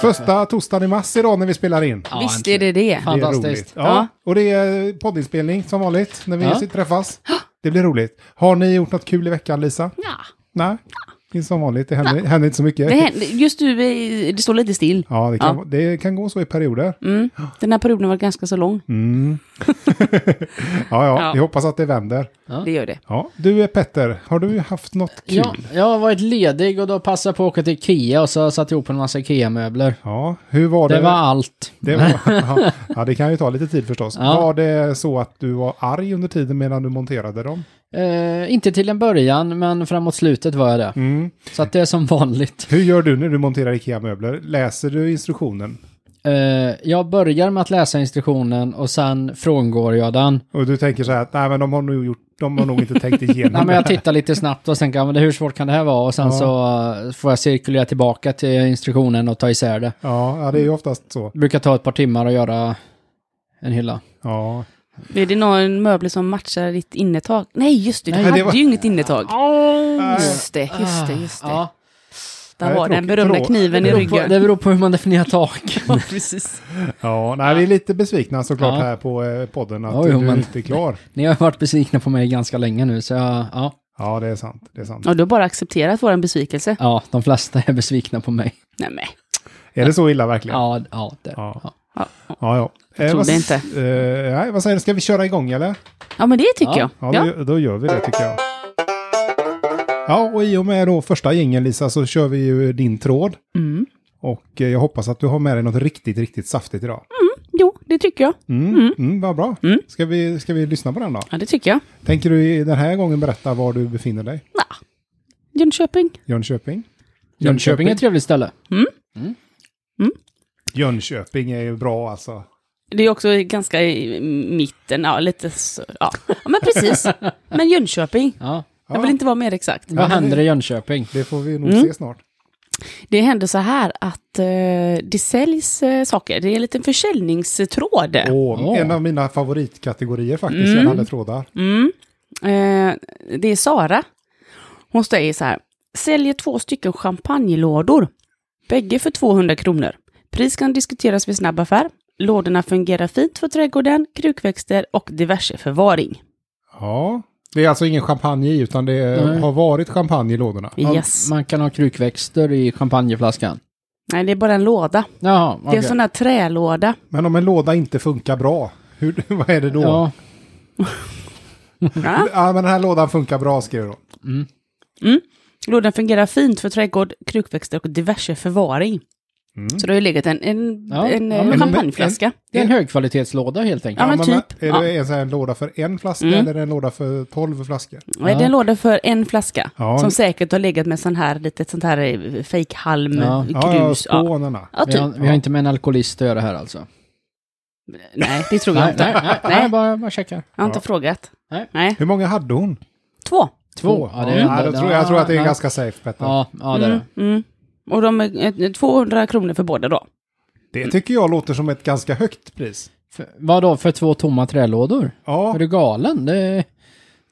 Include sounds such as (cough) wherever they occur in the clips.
Första torsdagen i mars idag när vi spelar in. Ja, Visst är äntligen. det det. Det är roligt. Fantastiskt. Ja. Ja. Och det är poddinspelning som vanligt när vi Ja. träffas. Det blir roligt. Har ni gjort något kul i veckan Lisa? Ja. Nej, det är som vanligt. Det händer, händer inte så mycket. Det händer, just nu, är- det står lite still. Ja, det kan, Ja. det kan gå så i perioder. Mm. Den här perioden har varit ganska så lång. Ja, ja, Ja. vi hoppas att det vänder. Det gör det. Ja. Du eh, Petter, har du haft något kul? Ja, jag har varit ledig och då passade jag på att åka till Ikea och så har jag satt ihop en massa Ikea-möbler. Ja, hur var det? Det var allt. Det var- ja. ja, det kan ju ta lite tid förstås. Ja. Var det så att du var arg under tiden medan du monterade dem? Eh, inte till en början, men framåt slutet var jag det. Mm. Så att det är som vanligt. Hur gör du när du monterar IKEA-möbler? Läser du instruktionen? Eh, jag börjar med att läsa instruktionen och sen frångår jag den. Och du tänker så här att nej, men de har nog, gjort, de har nog inte tänkt (laughs) igenom Nej, men jag det här." tittar lite snabbt och tänker, ja, men det- hur svårt kan det här vara? Och sen Ja. så eh, får jag cirkulera tillbaka till instruktionen och ta isär det. ja, ja, det är ju oftast så. Det brukar ta ett par timmar att göra en hylla. Ja, Är det någon möbel som matchar ditt innertak? Nej, just det. Du Nej, det hade var- ju inget innertak. Nej. Just det, just det, just det. Ah. Ja, Där Nej, var den tråkigt. Förlåt. berömda kniven det, i beror på, ryggen. det beror på hur man definierar tak. Ja, precis. ja nej, vi är lite besvikna såklart Ja. här på eh, podden att Ja, jo, du men- inte är klar. (laughs) Ni har varit besvikna på mig ganska länge nu, så jag, ja, Ja, det är sant. Det är sant. Ja, du har bara accepterat vår besvikelse. ja, de flesta är besvikna på mig. Nej, men. Är det så illa verkligen? Ja, ja, det. Ja. Ja. Ja. ja. ja. Jag trodde inte. Eh, nej, vad säger du, ska vi köra igång eller? ja, men det tycker Ja. Ja, jag. Ja. Då, då gör vi det tycker jag. Ja, och i och med då första gängen Lisa så kör vi ju din tråd. Mm. Och eh, jag hoppas att du har med dig något riktigt, riktigt saftigt idag. Jo, det tycker jag. Mm, mm, vad bra. Ska, vi, ska vi lyssna på den då? Ja, det tycker jag. Tänker du i- den här gången berätta var du befinner dig? Jönköping. Jönköping? Jönköping är ett trevligt ställe. Jönköping är ju bra alltså. Det är också ganska i mitten, ja, lite så, ja. ja, men precis. Men Jönköping. Ja. Jag vill inte vara mer exakt. Vad händer i Jönköping? Det får vi nog se snart. Det händer så här att eh, det säljs eh, saker. Det är en liten försäljningstråd. Åh, Åh. En av mina favoritkategorier faktiskt gällande trådar. Mm. Eh, det är Sara. Hon säger så här. Säljer två stycken champagnelådor. Bägge för 200 kronor. Pris kan diskuteras vid snabb affär. Lådorna fungerar fint för trädgården, krukväxter och diverse förvaring. Ja. Det är alltså ingen champagne i, utan det är- Nej. har varit champagne i lådorna. Man- Yes. Man kan ha krukväxter i champagneflaskan. Nej, det är bara en låda. Jaha, Det är okej. en sån här trälåda. Men om en låda inte funkar bra, hur, (laughs) vad är det då? Ja. Ja, Ja. men den här lådan funkar bra skriver du. Lådan fungerar fint för trädgård, krukväxter och diverse förvaring. Mm. Så det har ju legat en, en, Ja, en, ja, eh, men- champagneflaska. det är en högkvalitetslåda helt enkelt. Ja, men typ. Är Ja. det en, sån här låda för en flaska Mm. eller en låda för tolv flaskor? Nej, det är en låda för en flaska. Ja. Som säkert har legat med sån här, lite sånt här eh, fejkhalm, Ja. ja. Ja, ja, grus. Ja, spånerna. ja. Vi, typ. har, vi har inte med en alkoholist att göra här alltså. Nej, det tror jag inte. nej, (laughs) nej, Nej. nej, bara, bara checka. Jag har inte Ja. frågat. Nej. Hur många hade hon? Två. Två. Ja, det är Ja, ändå- jag, tror, jag tror att det är ja. ganska safe, Petter. Ja, ja det är det. Mm. Och de är eh, 200 kronor för båda då. Det tycker jag låter som ett ganska högt pris. För, vadå, för två tomma trälådor? Är Ja, du galen? Det,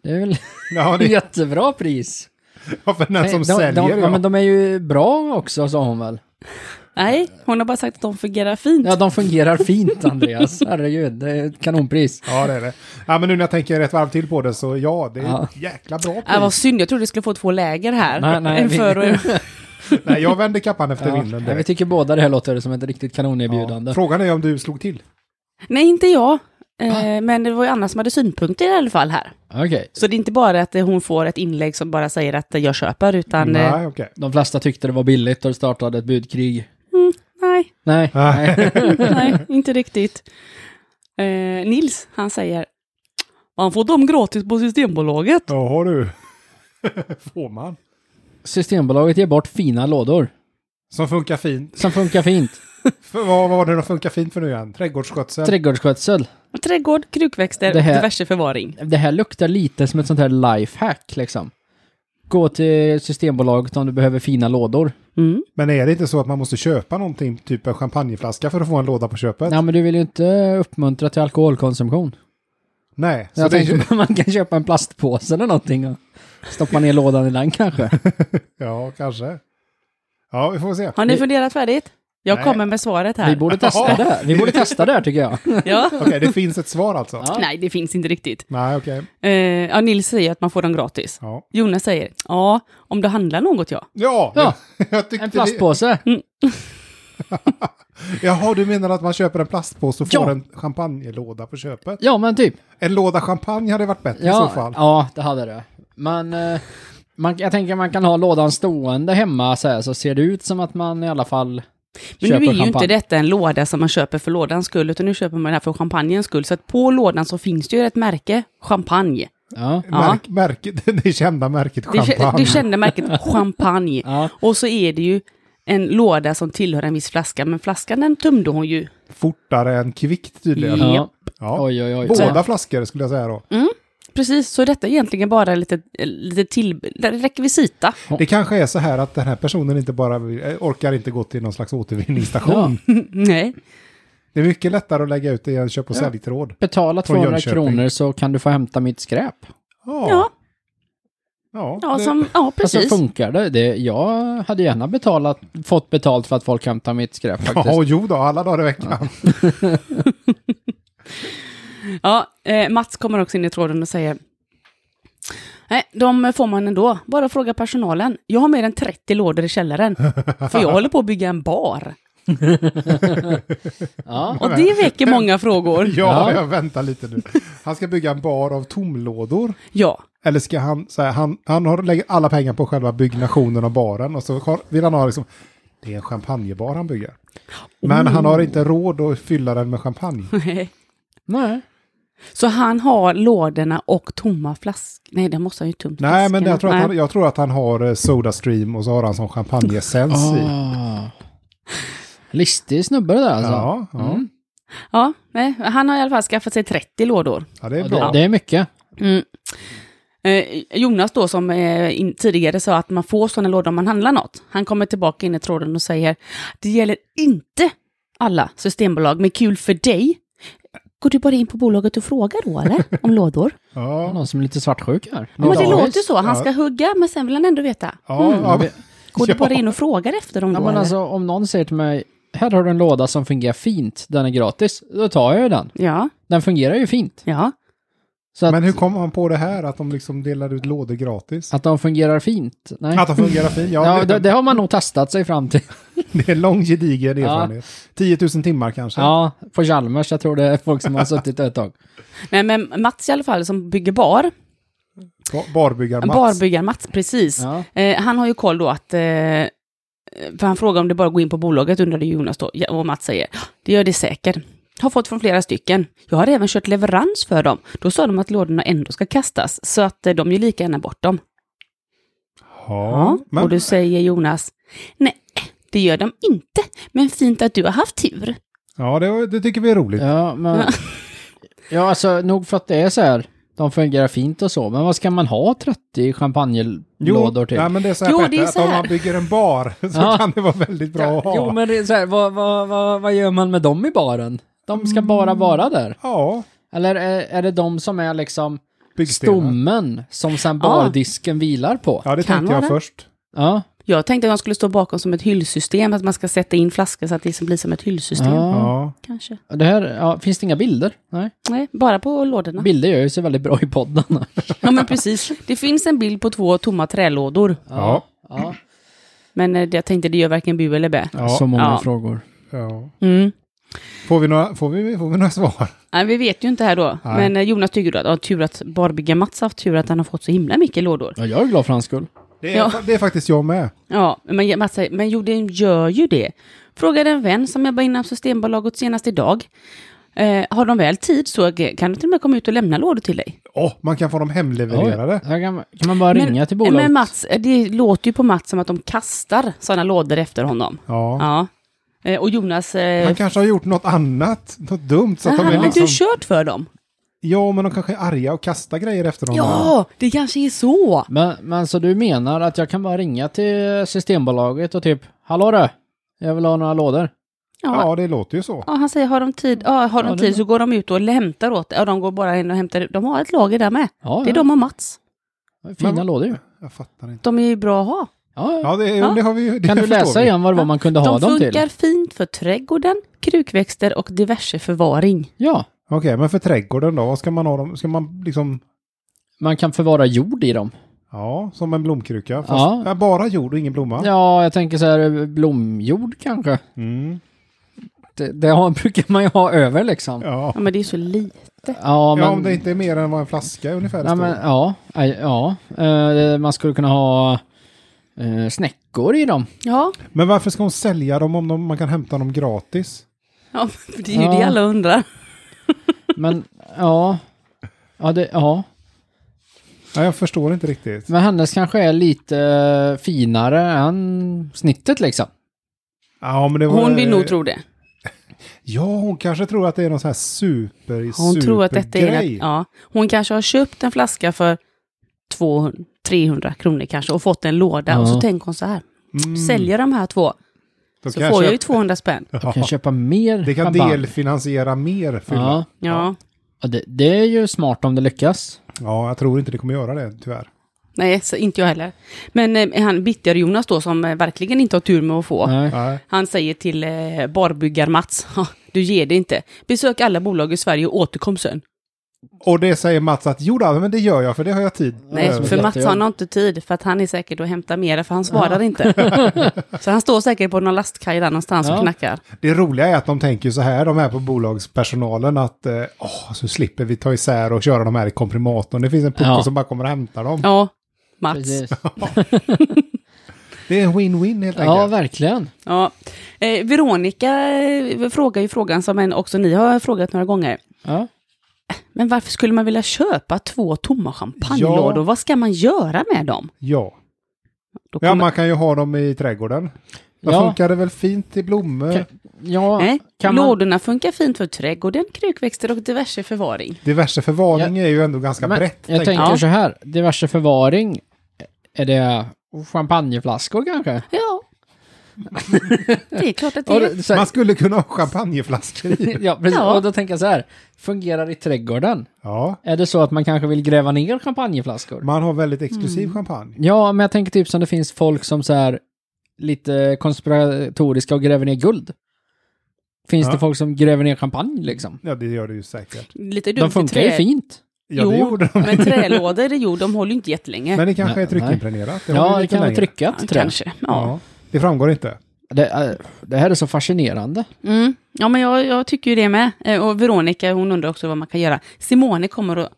det är väl (laughs) ja det jättebra pris? är för den som de, säljer. de, ja. ja. men de är ju bra också, sa hon väl? Nej, hon har bara sagt att de fungerar fint. Ja, de fungerar fint, (laughs) Andreas. Herregud, det är ett kanonpris. ja, det är det. Ja, men nu när jag tänker ett varv till på det så ja, det är Ja. ett jäkla bra Ah, vad pris. synd, jag trodde vi skulle få två läger här. Nej, nej, en vi- för (laughs) och en... Nej, jag vänder kappan efter Ja, vinden. nej, vi direkt. tycker båda det här låter som ett riktigt kanonerbjudande. Ja. Frågan är om du slog till. Nej, inte jag. Eh, men det var ju Anna som hade synpunkter i alla fall här. Okej, Så det är inte bara att eh, hon får ett inlägg som bara säger att eh, jag köper, utan... eh, Nej, okej. de flesta tyckte det var billigt och det startade ett budkrig. Nej, (laughs) Nej, nej. (laughs) nej, inte riktigt. Eh, Nils, han säger, man får dem gratis på Systembolaget. Ja, har du. (laughs) Får man. Systembolaget ger bort fina lådor Som funkar fint. som funkar fint. För, vad, vad var det som funkar fint för nu igen? Trädgårdsskötsel? Trädgårdsskötsel. Och Trädgård, krukväxter Det och här- diverse förvaring. Det här luktar lite som ett sånt här lifehack liksom. Gå till Systembolaget om du behöver fina lådor. Mm. Men är det inte så att man måste köpa någonting, typ en champagneflaska för att få en låda på köpet? Nej men du vill ju inte uppmuntra till alkoholkonsumtion. Nej. Så jag det, (laughs) tänkte (laughs) att man kan köpa en (laughs) plastpåse eller någonting och stoppa ner lådan i den kanske. Ja, kanske. Ja, vi får se. Har ni Vi- funderat färdigt? Jag Nej. kommer med svaret här. Vi borde testa det. här. Vi borde testa det här tycker (laughs) jag. ja. Okej, det finns ett svar alltså? (laughs) Ja. Nej, det finns inte riktigt. Nej, okej. Eh, ja, Nils säger att man får dem gratis. Ja. Jonas säger, ja, om du handlar något ja. Ja, Ja, jag (laughs) tyckte En plastpåse. Mm. Det. Jaha, du menar att man köper en plastpåse och Ja. får en champagnelåda på köpet? Ja, men typ. En låda champagne hade varit bättre i så Ja, fall. ja det hade det. Men eh, man, jag tänker man kan ha lådan stående hemma så här, så ser det ut som att man i alla fall Men köper nu är ju champagne. inte detta en låda som man köper för lådans skull, utan nu köper man den här för champagnens skull. Så att på lådan så finns det ju ett märke, champagne. Ja. Märk, (laughs) märket, det kända märket Det, kä- champagne. det (laughs) kända märket champagne. Ja. Och så är det ju en låda som tillhör en viss flaska, men flaskan den tömde hon ju. Fortare än kvickt tydligen. Ja. ja. Ja. Oj, oj, oj. Båda Så- flaskor skulle jag säga då. Precis, så detta är egentligen bara lite, lite till, rekvisita. Det kanske är så här att den här personen inte bara vill- eh, orkar inte gå till någon slags återvinningsstation. Nej. Det är mycket lättare att lägga ut det i en köp och säljtråd. Betala Från 200 Jönköping. kronor så kan du få hämta mitt skräp. Ja, ja. ja, det- som, ja Alltså precis. funkar det? det? Jag hade gärna betalat, fått betalt för att folk hämtar mitt skräp faktiskt. Ja, jo då, alla dagar i veckan. Ja, eh, Mats kommer också in i tråden och säger Nej, de får man ändå. Bara fråga personalen. Jag har mer än 30 lådor i källaren. För jag håller på att bygga en bar. Ja. Och det väcker många frågor. Ja, Ja. jag väntar lite nu. Han ska bygga en bar av tomlådor. Ja, (laughs) Eller ska han, så här, han, han har, lägger alla pengar på själva byggnationen av baren och så har, vill han ha liksom, det är en champagnebar han bygger. Men han har Oh. inte råd att fylla den (laughs) med champagne. Nej. så han har lådorna och tomma flaskor. Nej, det måste han ju tömt. Nej, men flaskorna. jag tror, att Nej. han, jag tror att han har eh, Sodastream och så har han som champagneessens i. Ah. Listig snubbe det där alltså. Ja, ja. Mm. Ja, nej, han har i alla fall skaffat sig 30 lådor. ja, det är Det, bra. det är mycket. Mm. Eh, Jonas då som eh, in, tidigare sa att man får sådana lådor om man handlar något. Han kommer tillbaka in i tråden och säger det gäller inte alla systembolag, men kul för dig. Går du bara in på bolaget och frågar (laughs) då eller? Om lådor? Ja, Någon som är lite svartsjuk här. Ja, men det Ja, låter ju så. Han Ja. ska hugga, men sen vill han ändå veta. ja, Mm. ja, men- Går du (laughs) Ja. bara in och frågar efter dem Ja, då? men eller? alltså om någon säger till mig, här har du en låda som fungerar fint, den är gratis, då tar jag ju den. ja, Den fungerar ju fint. ja. Så att, Men hur kom han på det här att de liksom delar ut lådor gratis? att de fungerar fint, nej. Att de fungerar fint? Ja, ja, det, det har man nog testat sig fram (laughs) till. det är lång gedigen erfarenhet. 10 000 timmar kanske. Ja, på Chalmers, jag tror det är folk som har suttit där ett tag. Nej, men Mats i alla fall som bygger bar, Ba- Barbyggare-Mats. barbyggare-Mats, precis. Ja. Eh, han har ju koll då att... Eh, för han frågar om det bara går in på bolaget, undrade Jonas då. Ja, Och Mats säger, "Ah, det gör det säkert. Har fått från flera stycken. Jag har även kört leverans för dem. Då sa de att lådorna ändå ska kastas, så att eh, de ju lika gärna bort dem. Ja, men Och du säger Jonas, nej, det gör de inte. Men fint att du har haft tur. ja det, var- det tycker vi är Eh, roligt. Ja, men... Ja, alltså nog för att det är så här, de fungerar fint och så, men vad ska man ha 30 champagnelådor till? nej, men det är så här, Jo, det är Petter, så att om här. man bygger en bar (laughs) så Ja. kan det vara väldigt bra att ha. Jo, men det är så här, vad, vad, vad, vad gör man med dem i baren? De Mm. ska bara vara där. Ja, Eller är, är det de som är liksom byggstenar. stommen som sen Ja. bardisken vilar på? Ja, det Kan tänkte jag vara. först. Ja. Jag tänkte att de skulle stå bakom som ett hyllsystem, att man ska sätta in flaskor så att det liksom blir som ett hyllsystem. ja. Ja. Kanske. Det här, ja, finns det inga bilder? Nej. Nej, bara på lådorna. Bilder gör ju sig väldigt bra i podden. Ja. Ja, men precis. Det finns en bild på två tomma trälådor. Ja. ja. Men eh, jag tänkte, det gör varken bu eller bä. Ja. Så många Ja. frågor. Ja. Mm. Får, vi några, får, vi, får vi några svar? Nej, vi vet ju inte här då. Nej. Men eh, Jonas tycker då att, ja, tur att barbyggaren Mats har haft tur att han har fått så himla mycket lådor. Ja, jag är glad för hans skull. Det är, Ja. det är faktiskt jag med. Ja, men Mats säger, men jo, den gör ju det. Frågade en vän som jobbar inom Systembolaget senast idag. Eh, har de väl tid så kan de till och med komma ut och lämna lådor till dig. Åh, man kan få dem hemlevererade. Oj, här kan, man- kan man bara ringa till bolaget? Men Mats, eh, det låter ju på Mats som att de kastar sådana lådor efter honom. Ja. Ja. Eh, och Jonas... Han Eh, kanske har gjort något annat, något dumt. Så att de han är har ju liksom, kört för dem. ja, men de kanske är arga och kastar grejer efter dem. Ja, det kanske är så. Men, men så du menar att jag kan bara ringa till Systembolaget och typ Hallå du! Jag vill ha några lådor. Ja, ja, det låter ju så. Ja, han säger har de tid, ja, har de Ja, det är tid bra. så går de ut och hämtar åt Ja, de går bara in och hämtar. De har ett lager där med. Ja, Det ja. är de och Mats. Fina Men- lådor ju. Jag fattar inte. De är ju bra att ha. Ja, Ja, det, jo, Ja. det har vi ju. det Kan du förstår läsa vi. igen vad det var man kunde ha De dem till? funkar fint för trädgården, krukväxter och diverse förvaring. Ja, Okej, men för trädgården då? Vad ska man ha dem? Ska man liksom... man kan förvara jord i dem. Ja, som en blomkruka. Fast Ja. ja. bara jord och ingen blomma. Ja, jag tänker så här blomjord kanske. Mm. Det, det har, (laughs) brukar man ju ha över liksom. Ja. Ja, men det är så lite. Ja, ja, men, om det inte är mer än vad en flaska ungefär nej, står. men, ja, aj, ja. Eh, man skulle kunna ha eh, snäckor i dem. Ja, Men varför ska hon sälja dem om de, man kan hämta dem gratis? ja (laughs) men det är ju Ja. det alla undrar. Men (laughs) ja, ja, det, ja. Ja, jag förstår inte riktigt. Men hennes kanske är lite eh, finare än snittet liksom. Ja, men det var, Hon vill nog tro det. Ja, hon kanske tror att det är någon sån här super Hon tror att detta är... supergrej. Ja, hon kanske har köpt en flaska för 200, 300 kronor kanske och fått en låda. Ja. Och så tänker hon så här, Mm, säljer de här två då så kan får jag ju köpa- 200 spänn. Du kan köpa mer Det kan champagne. delfinansiera mer fylla. Ja. Ja, Ja, Ja, det, det är ju smart om det lyckas. jag tror inte det kommer göra det, tyvärr. nej, så inte jag heller. Men eh, han Bitter-Jonas då, som eh, verkligen inte har tur med att få, Nej. Nej. han säger till eh, barbyggar-Mats, "Ha, du ger det inte. Besök alla bolag i Sverige och återkom sen. Och det säger Mats att jo då, men det gör jag för det har jag tid Nej, över." men för Mats jättejobb. han har inte tid, för att han är säkert och hämtar mera, för han svarar inte. så han står säkert på någon lastkaj där någonstans Ja. och knackar. Det roliga är att de tänker så här, de här på bolagspersonalen, att eh, åh, så slipper vi ta isär och köra de här i komprimatorn. Det finns en pucko Ja. som bara kommer och hämtar dem. Ja, Mats. Precis. Det är en win-win helt Ja, enkelt. verkligen. Ja. Eh, Veronica eh, frågar ju frågan som en också ni har frågat några gånger. Ja. Men varför skulle man vilja köpa två tomma champagnelådor? Ja. Vad ska man göra med dem? Ja. Då ja, kommer- man kan ju ha dem i trädgården. Det Ja. funkar det väl fint i blommor. Kan- Ja, Nej, kan man... Eh, lådorna funkar fint för trädgården, krukväxter och diverse förvaring. Diverse förvaring är ju ändå ganska Men brett. Jag tänker tänker jag. så här, diverse förvaring, är det champagneflaskor kanske? Ja, det är klart att det Och är. det- så jag. Man här, skulle kunna ha champagneflaskor i. (laughs) ja, precis. Ja. Och då tänker jag så här, fungerar i trädgården? Ja, Är det så att man kanske vill gräva ner champagneflaskor? man har väldigt exklusiv Mm. champagne. Ja, men jag tänker typ som det finns folk som så här lite konspiratoriska och gräver ner guld. Finns Ja. det folk som gräver ner champagne liksom? Ja, det gör det ju säkert. Lite dumt De i funkar trä. ju fint. Ja, Jo. det gjorde de. Men trälådor, det- jo, de håller ju inte jättelänge. Men det kanske Nej, är tryckimpregnerat. Det håller Ja, ju det lite kan vara längre. tryckat ja, trä. kanske. Ja. Ja. Det framgår inte. Det, är- det här är så fascinerande. Mm. ja, men jag, jag tycker ju det med. Eh, Och Veronica, hon undrar också vad man kan göra. Simone kommer och...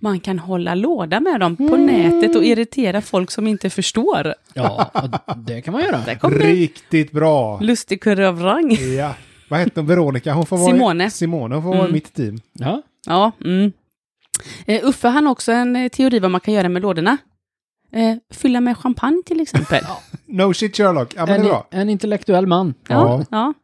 Man kan hålla låda med dem på Mm. nätet och irritera folk som inte förstår. Ja, och det kan man göra. Där kommer en Riktigt bra! lustig kurre av rang. Ja. Vad hette hon? Veronica? Hon får vara I, Simone. Mm. Simone, hon får vara i mitt team. Ja. Ja, mm. Eh, Uffe han har också en eh, teori vad man kan göra med lådorna. Eh, fylla med champagne till exempel. ja. No shit Sherlock. Ja, men det är En, bra. Mm. en intellektuell man. Ja. (laughs) Ja, ja.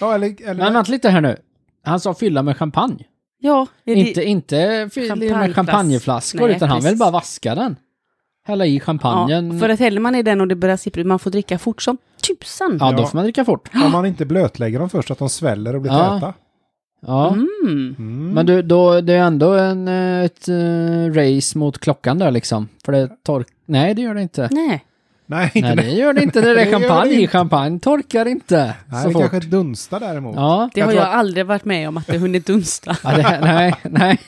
Ja, eller, eller, Men vänta lite här nu. Han sa fylla med champagne. är det- Inte, inte fylla med Champagneflas- champagneflaskor, Nej, utan han precis. vill bara vaska den. Hälla i champagnen. ja. För att häller man i den och det börjar sippra ut, man får dricka fort som tusan. Ja, då Ja. får man dricka fort. Om man inte blötlägger dem först så att de sväller och blir Ja. täta. Ja. Mm. Mm. Men du, då, det är ändå en, eh, ett eh, race mot klockan där liksom. För det tork... Nej, det gör det inte. Nej. Nej, inte Nej, det. det gör det inte. Det (laughs) Det är gör det champagne. inte. Champagne torkar inte Nej, så det fort. kanske dunstar däremot. Ja. Det Jag har tror jag aldrig varit med om att det hunnit dunsta. ja det, (laughs) nej, nej.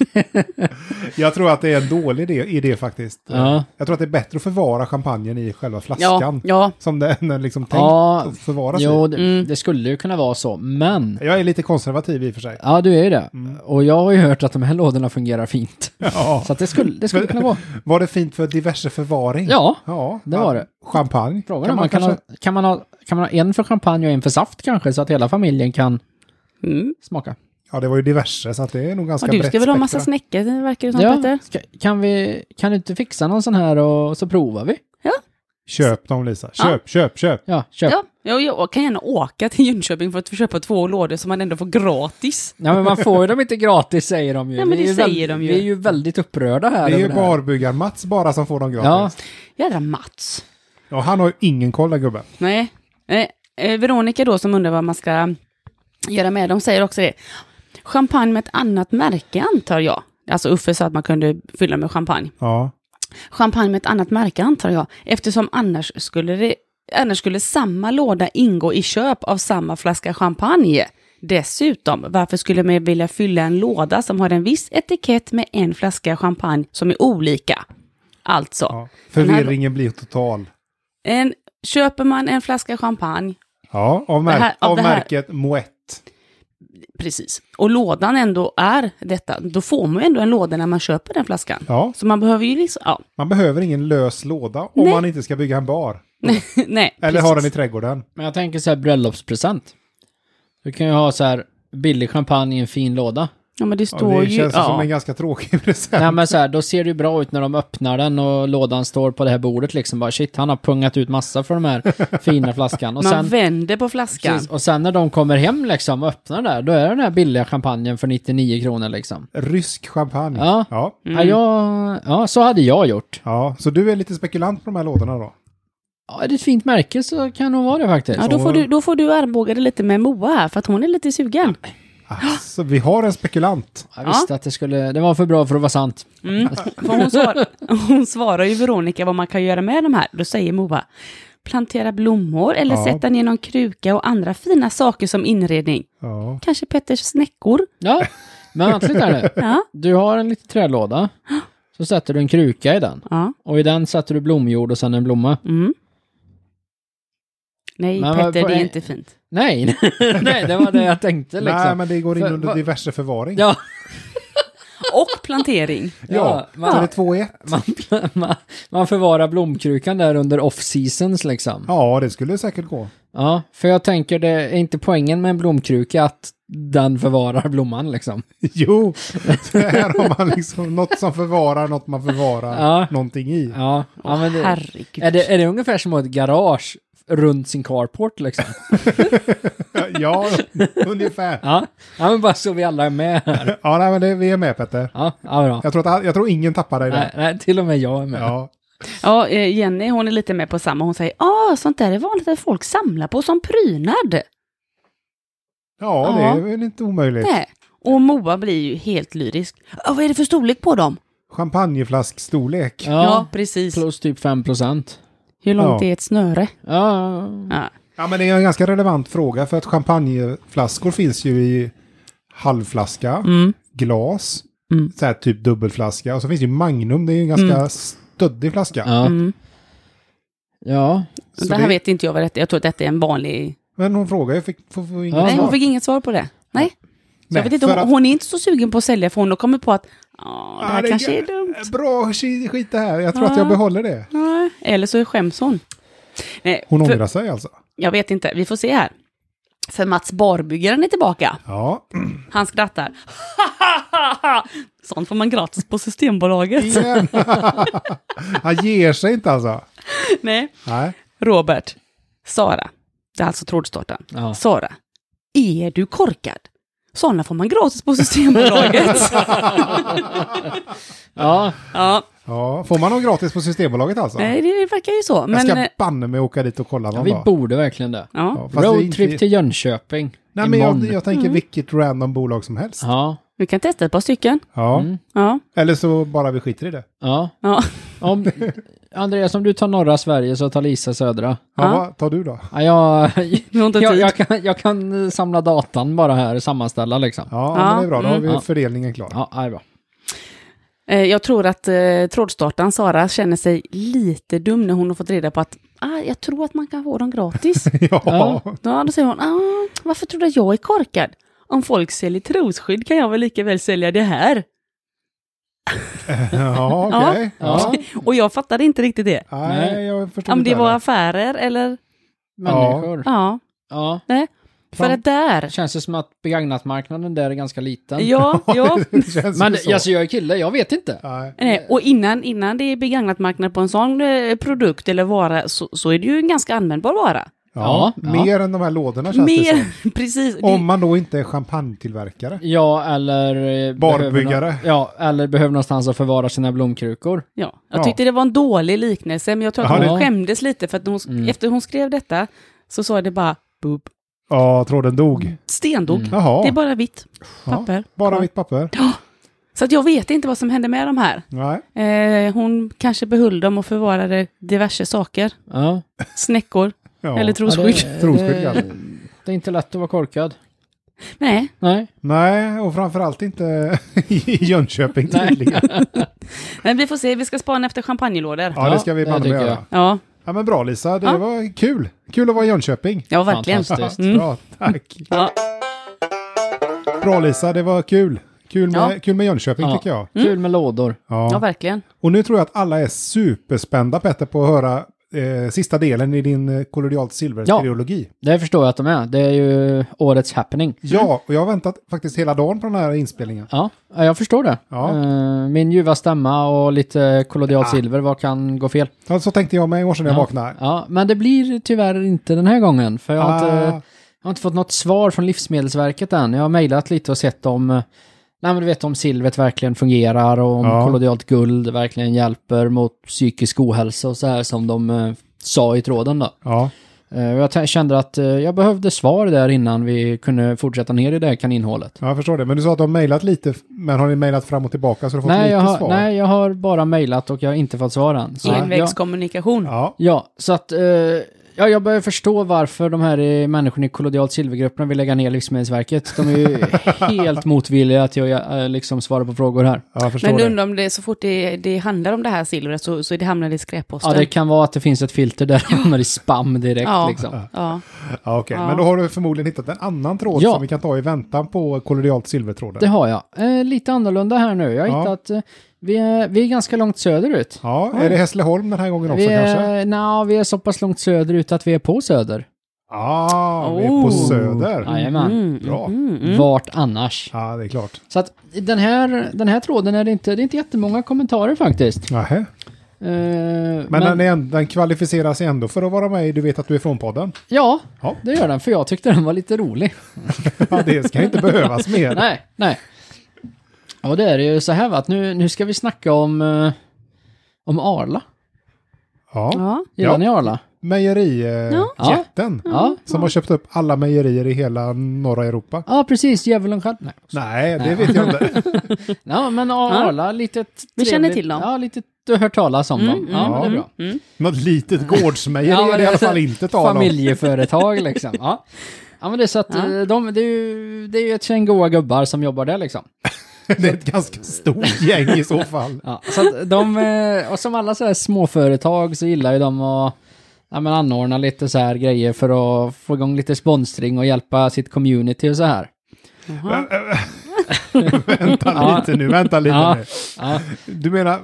Jag tror att det är en dålig idé, idé faktiskt. Ja. Jag tror att det är bättre att förvara champagnen i själva Ja, flaskan. ja. Som den är liksom tänkt Ja. att förvaras Jo, i. det, Mm. det skulle ju kunna vara så, men... Jag är lite konservativ i och för sig. Ja, du är ju det. Och jag har ju hört att de här lådorna fungerar fint. Mm. Ja. Så att det skulle, det skulle kunna (laughs) gå. Var det fint för diverse förvaring? Ja, Ja, det ja. var det. Champagne. frågan är om man kan, ha, kan, man ha, kan man ha en för champagne och en för saft kanske, så att hela familjen kan Mm. smaka. Ja, det var ju diverse, så att det är nog ganska Och du brett ska väl ha massa spektra. snäckor, det verkar det som, Ja, Petter? ska, kan, vi, kan du inte fixa någon sån här och så provar vi? Köp dem, Lisa. Ja. Köp, köp, köp. Ja, köp. Ja. Ja, ja, jag kan gärna åka till Jönköping för att köpa två lådor som man ändå får gratis. men man får ju dem inte gratis säger de ju. Nej, men Vi det är säger väldigt- de ju. Vi är ju väldigt upprörda här. Det är ju över här. barbyggaren-Mats bara som får dem gratis. Jädra Mats. Ja. Och han har ju ingen koll, den gubben. Nej. Eh, eh, Veronica då, som undrar vad man ska göra med dem, säger också det. Champagne med ett annat märke, antar jag. Alltså Uffe sa att man kunde fylla med champagne. Ja. Champagne med ett annat märke antar jag, eftersom annars skulle, det, annars skulle samma låda ingå i köp av samma flaska champagne. Dessutom, varför skulle man vilja fylla en låda som har en viss etikett med en flaska champagne som är olika? Alltså, Ja. Den här- Förvirringen blir total. en, köper man en flaska champagne, Ja, av, mär- Det här- av av, det här- märket Moët. precis, och lådan ändå är detta, då får man ju ändå en låda när man köper den flaskan. Ja, Så man behöver ju liksom, ja, man behöver ingen lös låda om Nej. man inte ska bygga en bar. (laughs) nej. Eller precis. ha den i trädgården. Men jag tänker så här bröllopspresent. Du kan ju ha så här billig champagne i en fin låda. Ja, men det Ja, står det ju... känns som Ja. en ganska tråkig (laughs) present. Nej men så här, då ser det ju bra ut när de öppnar den och lådan står på det här bordet liksom. Bara shit, han har pungat ut massa för de här fina flaskan. Och Man sen, vänder på flaskan. precis, och sen när de kommer hem liksom och öppnar där, då är det den här billiga champagnen för 99 kronor liksom. Rysk champagne. Ja. Ja. Mm. Ja, jag, ja, så hade jag gjort. Ja, så du är lite spekulant på de här lådorna då? Ja, är det ett fint märke så kan det nog vara det faktiskt. Ja, då får du, då får du armbåga dig lite med Moa här, för att hon är lite sugen. Alltså, vi har en spekulant. Jag visste att det skulle, det var för bra för att vara sant. Mm. För hon, svar, (laughs) hon svarar ju Veronica vad man kan göra med de här. Då säger Moa, plantera blommor eller Ja. sätta ner någon kruka och andra fina saker som inredning. Ja. Kanske (laughs) Petters snäckor. Ja, men vänta lite här nu. Ja. Du har en liten (gasps) trälåda, så sätter du en kruka i den. ja. Och i den sätter du blomjord och sen en blomma. Mm. Nej, Men vad- Petter, vad det är är- inte fint. Nej, (laughs) nej, det var det jag tänkte liksom. Nej, men det går in För- under vad- diverse förvaring. Ja, Och plantering. Ja, man- så det är två i ett. man, man, man förvarar blomkrukan där under off-seasons liksom. Ja. Ja, det skulle säkert gå. för jag tänker det är inte poängen med en blomkruka att den förvarar blomman liksom. Jo, så här har man liksom något som förvarar något man förvarar Ja. någonting i. Ja, ja men det, Herregud. är, det, är det ungefär som att ha ett garage runt sin carport (laughs) liksom? Ja, ungefär. Ja, ja men bara så vi alla är med här. Ja, nej, men det, vi är med Petter. Ja, ja bra. Jag tror, att, jag tror ingen tappar dig Nej, där. nej, till och med jag är med. Ja. Ja, eh, Jenny hon är lite med på samma. Hon säger, ah, sånt där är vanligt att folk samlar på som prydnad. ja, det Ja. är väl inte omöjligt. Nej. Och Moa blir ju helt lyrisk. Ah, vad är det för storlek på dem? Champagneflaskstorlek. Ja, precis. plus typ 5 procent. Hur långt Ja. är ett snöre? Ja, Ja. Ja, men det är en ganska relevant fråga för att champagneflaskor finns ju i halvflaska, glas, Mm. så här typ dubbelflaska och så finns ju Magnum, det är ju en ganska stöddig flaska. ja. Mm. ja. Så det här det- vet inte jag vad det är. Jag tror att detta är en vanlig... Men hon frågar ju, fick, får, får inget Ja. Nej, svar. hon fick inget svar på det. Nej. Så jag Nej, vet inte, för hon, att- hon är inte så sugen på att sälja för hon har kommit på att ah, Ja, det här det är kanske är gö- dumt. Bra, sk- skit det här, jag tror att jag behåller det. Nej. Eller så skäms hon. Nej, Hon för, ångrar sig alltså. jag vet inte, vi får se här. För Mats Barbyggaren är tillbaka. Ja. Han skrattar. (laughs) Sånt får man gratis på Systembolaget. Igen. (laughs) Han ger sig inte alltså. (laughs) Nej. Nej. Robert. Sara. Det är alltså trådstartaren. Ja. Sara. Är du korkad? Sådana får man gratis på Systembolaget. (laughs) ja. ja, Ja, får man dem gratis på Systembolaget alltså? nej, det verkar ju så. jag Men, ska eh, banne mig åka dit och kolla någon vi dag. borde verkligen det. ja, Ja, fast det är inte- Roadtrip till Jönköping. Nej, men jag, imorgon. jag tänker Mm. vilket random bolag som helst. Ja, Mm. vi kan testa ett par stycken. Ja. Ja, Eller så bara vi skiter i det. ja. ja. Om, (laughs) Andreas, om du tar norra Sverige så tar Lisa södra. Ja, Ja. Vad tar du då? Ja, jag, Vi har inte jag, tid. jag, kan, jag kan eh, samla datan bara här och sammanställa liksom. Ja, Ja, Ja, Men det är bra. Då har mm. vi Ja. fördelningen klar. ja det är bra. Eh, jag tror att eh, trådstartaren Sara känner sig lite dum när hon har fått reda på att ah, jag tror att man kan få (laughs) dem gratis. Ja. Ja. Ja, då säger hon, ah, varför tror du att jag är korkad? Om folk säljer trosskydd kan jag väl lika väl sälja det här. Ja, okej. Ja. Ja. Och jag fattade inte riktigt det. Nej, jag förstår Om det inte var heller. affärer eller, Människor. Ja. ja, nej. För Fan. att där, Känns det som att begagnatmarknaden där är ganska liten. ja, (laughs) ja. det känns Men ju så. alltså jag är kille, jag vet inte. Nej. Nej, och innan, innan det är begagnat marknad på en sån eh, produkt eller vara så, så är det ju en ganska användbar vara. Ja. Ja. Mer än de här lådorna känns det som. Mer, (laughs) precis. Det, Om man då inte är champagnetillverkare. Ja, eller... eh, Barbyggare. behöver nå- Ja, eller behöver någonstans att förvara sina blomkrukor. ja, jag Ja. tyckte det var en dålig liknelse, men jag tror att Ja, Mm. hon det- skämdes lite för att hon, efter hon skrev detta så sa det bara boop, Ja, tråden dog. stendog. Jaha, Det är bara vitt Mm. Ja. papper. bara mitt papper. Så att jag vet inte vad som hände med de här. Nej. Eh, hon kanske behöll dem och förvarade (laughs) diverse saker. Ja. Snäckor Ja. eller trosskydd. Ja, det- Trosskydd, ja. det, det är inte lätt att vara korkad. Nej, Nej. Nej, och framförallt inte (laughs) i Jönköping tydligen. men vi får se. Vi ska spana efter champagnelådor. Ja, Ja, det ska vi det banne mig tycker göra. jag. ja, Ja, men bra Lisa. Det Ja. var kul. Kul att vara i Jönköping. verkligen. Fantastiskt. Mm. Bra, tack. Ja. Bra Lisa, det var kul. Kul med, Ja. kul med Jönköping Ja. tycker jag. Kul med lådor. ja, Ja. verkligen. Och nu tror jag att alla är superspända Petter på att höra eh, sista delen i din eh, kolonialt silver-trilogi. Ja. Det förstår jag att de är. Det är ju årets happening. och jag har väntat faktiskt hela dagen på den här inspelningen. Ja, ja, jag förstår det. Ja. Eh, Min ljuva stämma och lite kollodialt silver, vad kan gå fel? Ja, så tänkte jag med i morse när jag vaknade. Ja, men det blir tyvärr inte den här gången. För jag har, inte, Ah. jag har inte fått något svar från Livsmedelsverket än. Jag har mejlat lite och sett om, eh, nej men du vet om silvret verkligen fungerar och om Ja. kollodialt guld verkligen hjälper mot psykisk ohälsa och så här som de eh, sa i tråden då. Ja, Eh, och Jag t- kände att eh, jag behövde svar där innan vi kunde fortsätta ner i det här kaninhålet. jag förstår det. Men du sa att de har mejlat lite, men har ni mejlat fram och tillbaka så du har fått Nej lite jag, har, svar? nej, jag har bara mejlat och jag har inte fått svar än. Så jag, Envägskommunikation. Ja, ja, så att... eh, ja, jag börjar förstå varför de här eh, människorna i kollodialt silvergrupperna vill lägga ner Livsmedelsverket. De är ju helt motvilliga till att eh, liksom svara på frågor här. ja, jag förstår Men det. undrar om det så fort det, det handlar om det här silvret så, så det hamnar i skräpposten. Ja, det kan vara att det finns ett filter där de hamnar i spam direkt Ja. liksom. Ja. Ja, okej. Ja. Men då har du förmodligen hittat en annan tråd Ja. som vi kan ta i väntan på kolonialt silvertråden. Det har jag. Eh, lite annorlunda här nu. Jag har Ja. hittat... eh, vi, är, vi är ganska långt söderut. Ja, är det Hässleholm den här gången också Vi kanske? är, no, vi är så pass långt söderut att vi är på söder. Ja, Ah, vi är på Oh. Söder. Jajamän. Mm, Bra. Vart annars? Ja, det är klart. Så att den här, den här tråden är det inte, det är inte jättemånga kommentarer faktiskt. Nähä. Eh, Men, den, är, änd- den kvalificerar sig ändå för att vara med i Du vet att du är från podden. Ja, Ja. det gör den, för jag tyckte den var lite rolig. Ja, det ska inte behövas mer. nej, nej. Och det är ju så här va, att nu, nu ska vi snacka om, eh, om Arla. Ja. Ja. Gillar Ja. ni Arla? Mejerijätten. Ja. Jätten. Ja. Som har köpt upp alla mejerier i hela norra Europa. Ja, precis. Djävulen själv. Nej. Nej, det vet jag inte. Ja, men Arla, lite ett Vi känner trevligt- till dem. Mm, Ja, lite, du har hört talas om dem. Ja, men det är bra. (laughs) Något litet gårdsmejeri Ja, är men alltså, det i (laughs) alla fall inte tal om. Familjeföretag liksom. Ja. ja, men det är så att eh, de, det är ju, det är ju ett gäng goa gubbar som jobbar där liksom. (laughs) Det är ett ganska stort gäng i så fall. Ja, så att de, eh, och som alla så här småföretag så gillar ju de att ja, men anordna lite så här grejer för att få igång lite sponsring och hjälpa sitt community och så här. Jaha. Vänta (laughs) Ja. lite nu, vänta lite Ja. nu. Ja, Du menar,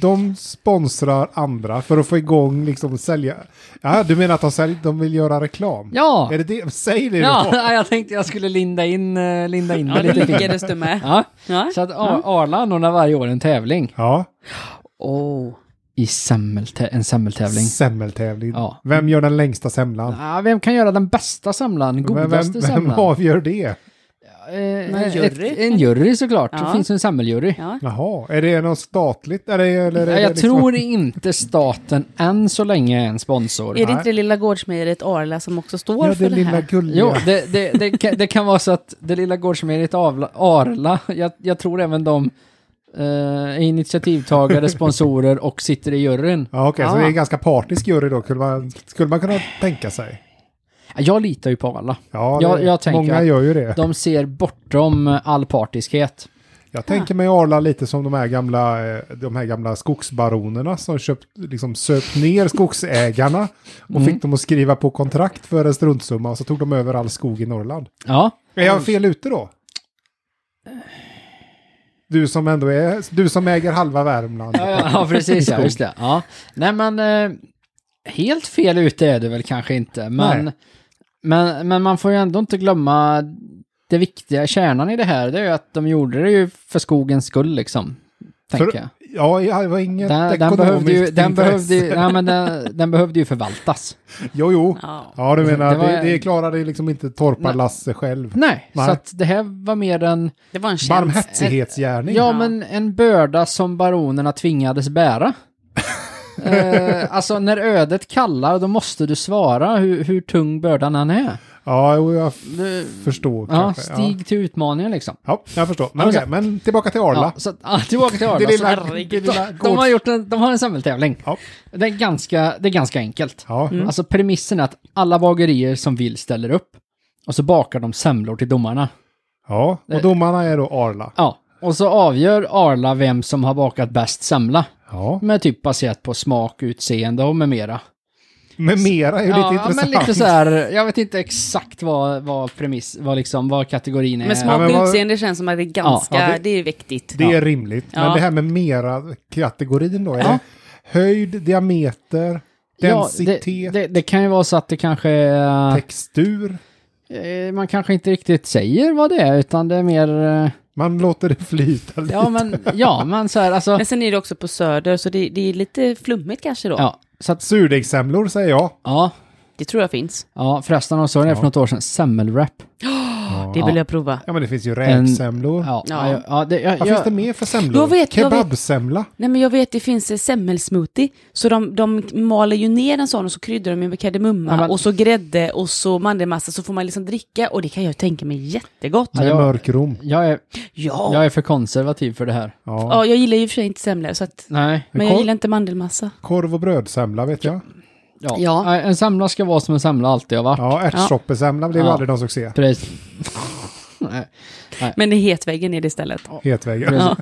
de sponsrar andra för att få igång liksom sälja. Ja, du menar att de, sälj, de vill göra reklam? ja, Är det det? Säg det då. ja (laughs) jag tänkte jag skulle linda in, eh, linda in ja, det det lite fint. lyckades du med. Ja, Ja. så att Ar- Arla anordnar varje år en tävling. Ja, Oh. I semmelte- en semmeltävling. semmeltävling. Ja. Vem gör den längsta semlan? Ja, vem kan göra den bästa semlan, Vem, vem, godaste vem semlan? avgör det? Eh, En jury. Ett, en jury såklart. Det Ja. finns en samhällsjury. Ja. Jaha, är det något statligt? Är det, eller är Ja, det jag liksom- tror inte staten än så länge är en sponsor. Är det inte det lilla gårdsmejeriet Arla som också står Ja, för det det lilla här? gulliga. Jo, det, det, det, kan, det kan vara så att det lilla gårdsmejeriet Avla- Arla, jag, jag tror även de eh, är (laughs) initiativtagare, sponsorer och sitter i juryn. Ja, okej, så Ja. det är en ganska partisk jury då, skulle man, skulle man kunna tänka sig. Jag litar ju på Arla. Ja, Jag- det- jag tänker många att- gör ju det. De ser bortom eh, all partiskhet. Jag tänker mig Arla lite som de här gamla, eh, de här gamla skogsbaronerna som köpt, liksom söp ner skogsägarna och Mm. fick dem att skriva på kontrakt för en struntsumma och så tog de över all skog i Norrland. Ja, Är jag fel ute då? Du som ändå är, du som äger halva Värmland. ja, ja precis. Ja, just det. Ja. Nej, men eh, helt fel ute är det väl kanske inte, men, Nej. men, men man får ju ändå inte glömma det viktiga, kärnan i det här, det är ju att de gjorde det ju för skogens skull liksom. Tänker För- jag. Ja, det var inget Den, den, ekonomiskt behövde ju, den, intresse. behövde ju, nej, men den, den behövde ju förvaltas. Jo, jo. Ja. Ja, du menar, Det det, var- det, klarade liksom inte Torpa-Lasse själv. Nej, Nej. så att det här var mer en, Det var en tjänst. Barmhärtighetsgärning. ja men en börda som baronerna tvingades (laughs) bära. eh, alltså när ödet kallar då måste du svara hur, hur tung bördan än är. Ja, jo, jag f- Du, förstår ja, kanske. stig Alltså- till utmaningen liksom. Ja. ja, jag förstår. Men, Ja, okej, men tillbaka till Arla. Ja, så att, ja, tillbaka till Arla. Det lilla- Så- det lilla de, de, har gjort en, de har en samhällstävling. Ja. Det, är ganska, det är ganska enkelt. Ja. Alltså premissen är att alla bagerier som vill ställer upp och så bakar de semlor till domarna. ja, och domarna är då Arla. Ja, och så avgör Arla vem som har bakat bäst semla. Ja, Med typ baserat på smak, utseende och med mera. men mera är ju ja, lite ja, men intressant. lite så här, jag vet inte exakt vad, vad premiss, vad liksom, vad kategorin är. Men smak men och vad- utseende känns som att det är ganska, Ja, ja, det- det... är viktigt. Det är rimligt. Men Ja. det här med mera-kategorin då, är Ja. det höjd, diameter, densitet, Ja, det, det, det kan ju vara så att det kanske... är- textur? Eh, Man kanske inte riktigt säger vad det är, utan det är mer... eh, Man låter det flyta lite. Ja, men, (laughs) ja, men så här, alltså... Men sen är det också på söder, så det, det är lite flummigt kanske då. Ja, så att, Surdegssemlor säger jag. ja, Det tror jag finns. ja förresten, jag såg det för något år sedan, semmelwrap. Det vill jag prova. Ja, men det finns ju räksemlor. Ja, Ja. ja. ja, det, jag, Vad jag, finns det mer för semlor? Jag vet, jag vet. Kebabsemla? Nej men jag vet, det finns eh, semmelsmoothie. Så de, de maler ju ner en sån och så kryddar de med kardemumma Ja, men- och så grädde och så mandelmassa så får man liksom dricka och det kan jag tänka mig jättegott. Ja, Med jag- mörk rom? jag, är, Ja. jag är för konservativ för det här. Ja. ja, jag gillar ju i och för sig inte semlor så att... Nej. Men jag Kor- gillar inte mandelmassa. Korv och brödsemla vet jag. Ja. Ja. Nej, En semla ska vara som en semla alltid har varit. Ja, ärtsoppesemla blev ju Ja. aldrig någon succé. Precis. Nej. Men i hetväggen är det istället. Hetvägen. Ja.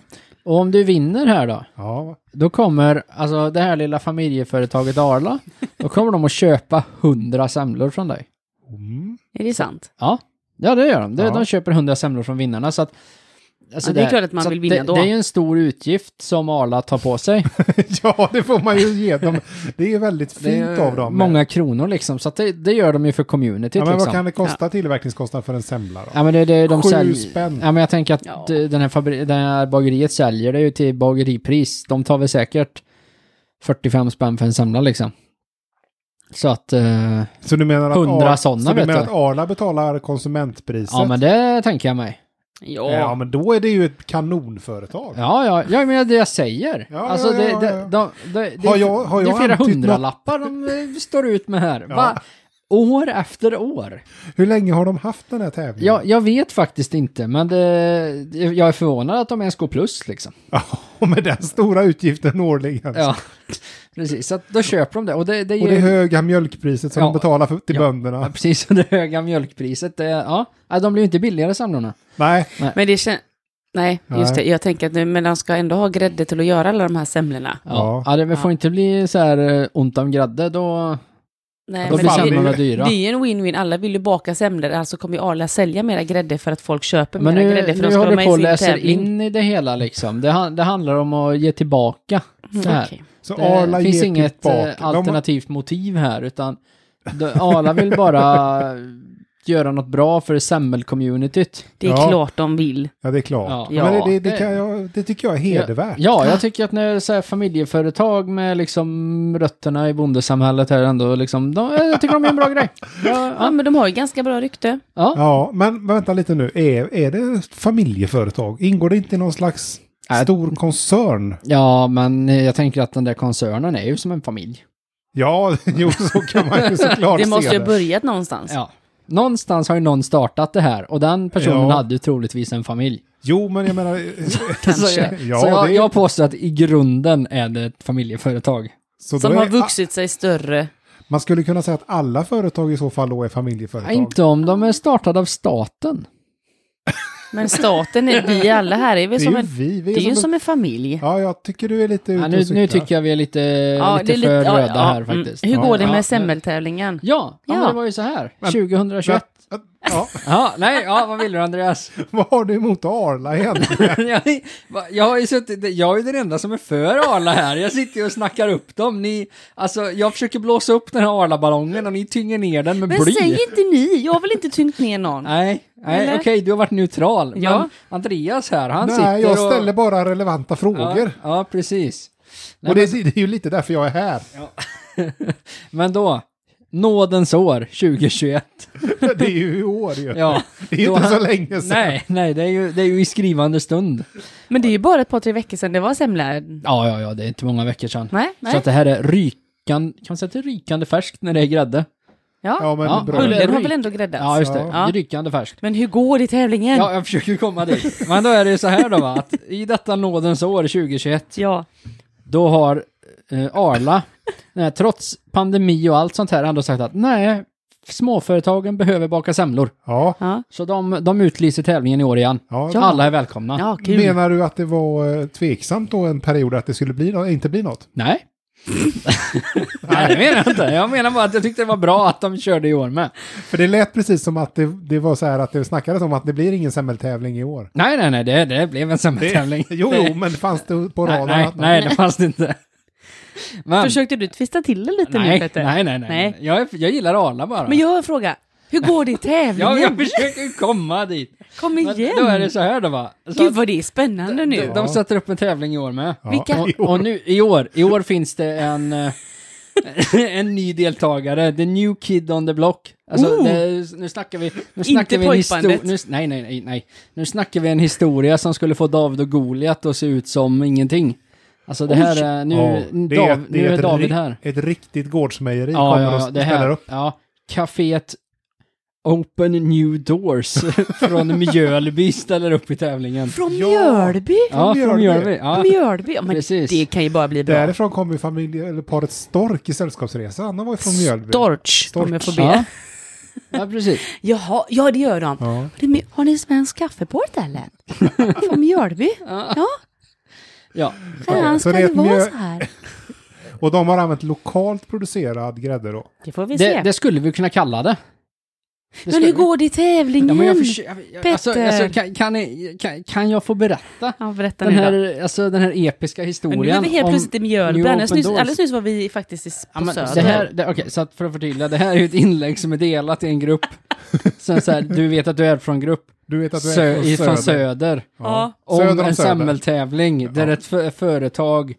Och om du vinner här då? Ja. Då kommer, alltså det här lilla familjeföretaget Arla, då kommer de att köpa 100 semlor från dig. Mm. (laughs) Är det sant? Ja, ja det gör de. De, Ja. de köper 100 semlor från vinnarna. Så att, alltså Ja, det är klart att man så vill vinna det, då. Det är ju en stor utgift som Arla tar på sig. ja, det får man ju ge dem. Det är ju väldigt Det (laughs) fint är av dem. Många kronor liksom. Så att det, det gör de ju för communityt ja, men liksom. vad kan det kosta tillverkningskostnad för en semla då? Ja men det, det, de Sju säljer... spänn. Ja men jag tänker att Ja. eh, den här, fabri- den här bageriet säljer det ju till bageripris. De tar väl säkert 45 spänn för en semla liksom. Så att... Eh, Så du menar att, 100 Ar- sådana, så du vet menar du. att Arla betalar konsumentpriset? ja men det tänker jag mig. Ja. Ja, men då är det ju ett kanonföretag. Ja, ja, ja men det jag säger. Ja, alltså, ja, ja, det, ja, det, ja. de, det, det, Har jag- har det jag är flera antytt hundralappar de eh, står ut med här. Ja. Mm. Va? År efter år. Hur länge har de haft den här tävlingen? Jag, jag vet faktiskt inte, men det, jag är förvånad att de ens går plus liksom. (laughs) Ja, med den stora utgiften årligen. Ja, (laughs) precis. Så att då köper de det. Och det, det, Och det ger- höga mjölkpriset som Ja. de betalar för, till Ja. bönderna. Ja, precis, och det höga mjölkpriset. Det, ja, Ja, de blir ju inte billigare semlorna. Nej, Men det känns... Nej, just Nej. det. Jag tänker att nu, men de ska ändå ha grädde till att göra alla de här semlorna. Ja, Ja. ja. det men får inte bli så här eh, ont om grädde, då, Nej, då men blir fan, det, semlorna det- dyra. det är ju en win-win. Alla vill ju baka semlor, alltså kommer ju Arla sälja mera grädde för att folk köper Men mera nu, grädde för nu de ska håller vara du på och med i läser sin tävling. in i det hela liksom. Det, han- det handlar om att ge tillbaka. Så här. Mm, Okej. så Det Arla finns ger inget eh, tillbaka. De, alternativt motiv här, utan det- Arla vill bara (laughs) göra något bra för semmelcommunityt. Det är Ja. klart de vill. ja, det är klart. Ja. Ja, men det, det, Ja. det, kan jag, det tycker jag är hedervärt. Ja, jag tycker att när så här, familjeföretag med liksom rötterna i bondesamhället här ändå liksom, de, jag tycker de är en bra (laughs) grej. Ja, Ja, ja, men de har ju ganska bra rykte. ja. Ja, men vänta lite nu. Är, är det ett familjeföretag? Ingår det inte i någon slags Nej. stor koncern? ja, men eh, jag tänker att den där koncernen är ju som en familj. Ja, (laughs) jo, så kan man ju såklart Det måste se ju det. ha börjat någonstans. Ja. Någonstans har ju någon startat det här och den personen Ja. hade ju troligtvis en (laughs) familj. Jo, men jag menar... (laughs) Så, jag- Ja, så jag, det är- jag påstår att i grunden är det ett familjeföretag. så då Som har är- vuxit sig större. Man skulle kunna säga att alla företag i så fall då är Ja, familjeföretag. inte om de är startade av staten. Men staten, är, vi alla här är väl det är som ju en... vi. vi Det är ju som- som en familj. Ja, jag tycker du är lite ute Ja, och nu, nu cyklar. tycker jag vi är lite, Eh, lite, det är för ja, röda ja, här mm. faktiskt. Hur Ja, går det ja. med semmeltävlingen? Ja, ja, men Ja. det var ju så här. Men- 2021. Men- Ja, Ja, nej, ja, vad vill du (laughs) Andreas? vad har du emot Arla (laughs) egentligen? jag, jag har ju suttit, jag är ju den enda som är för Arla här. Jag sitter ju och snackar upp dem. Ni, alltså, jag försöker blåsa upp den här Arla-ballongen och ni tynger ner den med Men bly. säg inte ni, jag har väl inte tyngt ner någon. Nej, nej okej, Eller? du har varit neutral. Ja. Men Andreas här, han sitter Nej, jag och... ställer bara relevanta frågor. Ja, ja precis. Nej, och det, är- det är ju lite därför jag är här. Men då, nådens år 2021. (laughs) Det är ju i år ju. Ja. (laughs) Det är Då inte så han- länge sedan. Nej, nej, det är ju, det är ju i skrivande stund. Men det är ju bara ett par, tre veckor sedan det var semla. Ja, ja, ja, det är inte många veckor sedan. Nej, Så nej. att det här är rykande, kan man säga att det är rykande färskt när det är grädde? Ja, Ja, men Ja, bra. Ulle- Bullen har väl ändå gräddats? Ja, just det. Ja. Drykande färskt. Men hur går det i tävlingen? Ja, jag försöker komma dit. Men då är det ju så här då va, att i detta nådens år 2021, Ja. då har eh, Arla, eh, trots pandemi och allt sånt här, ändå sagt att nej, småföretagen behöver baka semlor. Ja. Ja. Så de, de utlyser tävlingen i år igen. ja. Ja. Alla är välkomna. ja, kul. Menar du att det var eh, tveksamt då en period att det skulle bli nå- inte bli något? Nej. (laughs) nej, det menar jag inte. Jag menar bara att jag tyckte det var bra att de körde i år med. För det lät precis som att det, det var så här att det snackades om att det blir ingen semmeltävling i år. Nej, nej, nej, det, det blev en semmeltävling. Jo, jo, men fanns det på nej, radarn? nej, att- nej, det fanns det inte. Men, Försökte du twista till det lite nu nej, Peter? nej, nej, nej, nej. Jag, är- jag gillar Arla bara. Men jag har en fråga. Hur går det i Ja, tävlingen? jag försöker ju komma dit. Kom Men Då är det igen! så här då va. Så Gud att vad det är spännande nu. de, de sätter upp en tävling i år med. Ja, Vilka- i år. Och, och nu i år, i år finns det en, eh, (laughs) en ny deltagare, the new kid on the block. Alltså, Oh! det, nu snackar vi, nu snackar vi en pojkbandet. historia, nu, nej, nej, nej, nej. Nu snackar vi en historia som skulle få David och Goliat att se ut som ingenting. Alltså det här är, nu, Ja, det Dav, ett- det nu är ett David ri- här. Ett riktigt gårdsmejeri Ja, kommer ja, ja, och det ställer här, upp. ja, kaféet Open New Doors (laughs) från Mjölby ställer upp i tävlingen. Från Ja. Mjölby? Ja, från Mjölby. Mjölby. Ja. Mjölby? Ja, men Precis. det kan ju bara bli bra. Därifrån kommer ju familj, eller paret Stork i Sällskapsresan. De var ju från Mjölby. Storch, Storch. om jag får be. Ja. ja, precis. Jaha, ja det gör de. Ja. Har ni- Har ni svensk kaffeport eller? (laughs) Från Mjölby? Ja, Ja. här Så ska det är det ett vara mjöl- så här. Och de har använt lokalt producerad grädde då. Det får (laughs) vi Det, se. det skulle vi kunna kalla det. Det men skulle hur vi. går det i tävlingen? ja, Ja, men jag förs- jag- jag- alltså, Petter? alltså, kan, kan, ni- kan, kan jag få berätta? berätta Den nu då. här, alltså, den här episka Men historien. nu är vi helt om plötsligt i Mjölby. New Alldeles Open nyss, Doors. alldeles nyss var vi faktiskt i- på Ja, men, Söder. det här, det, okej, så att för att förtydliga, det här är ju ett inlägg som är delat i en (laughs) grupp. Sen så här, du vet att du är från grupp Du vet att du sö, är i- från söder. Ja. Om Söder om en Söder. semmeltävling där ett f- företag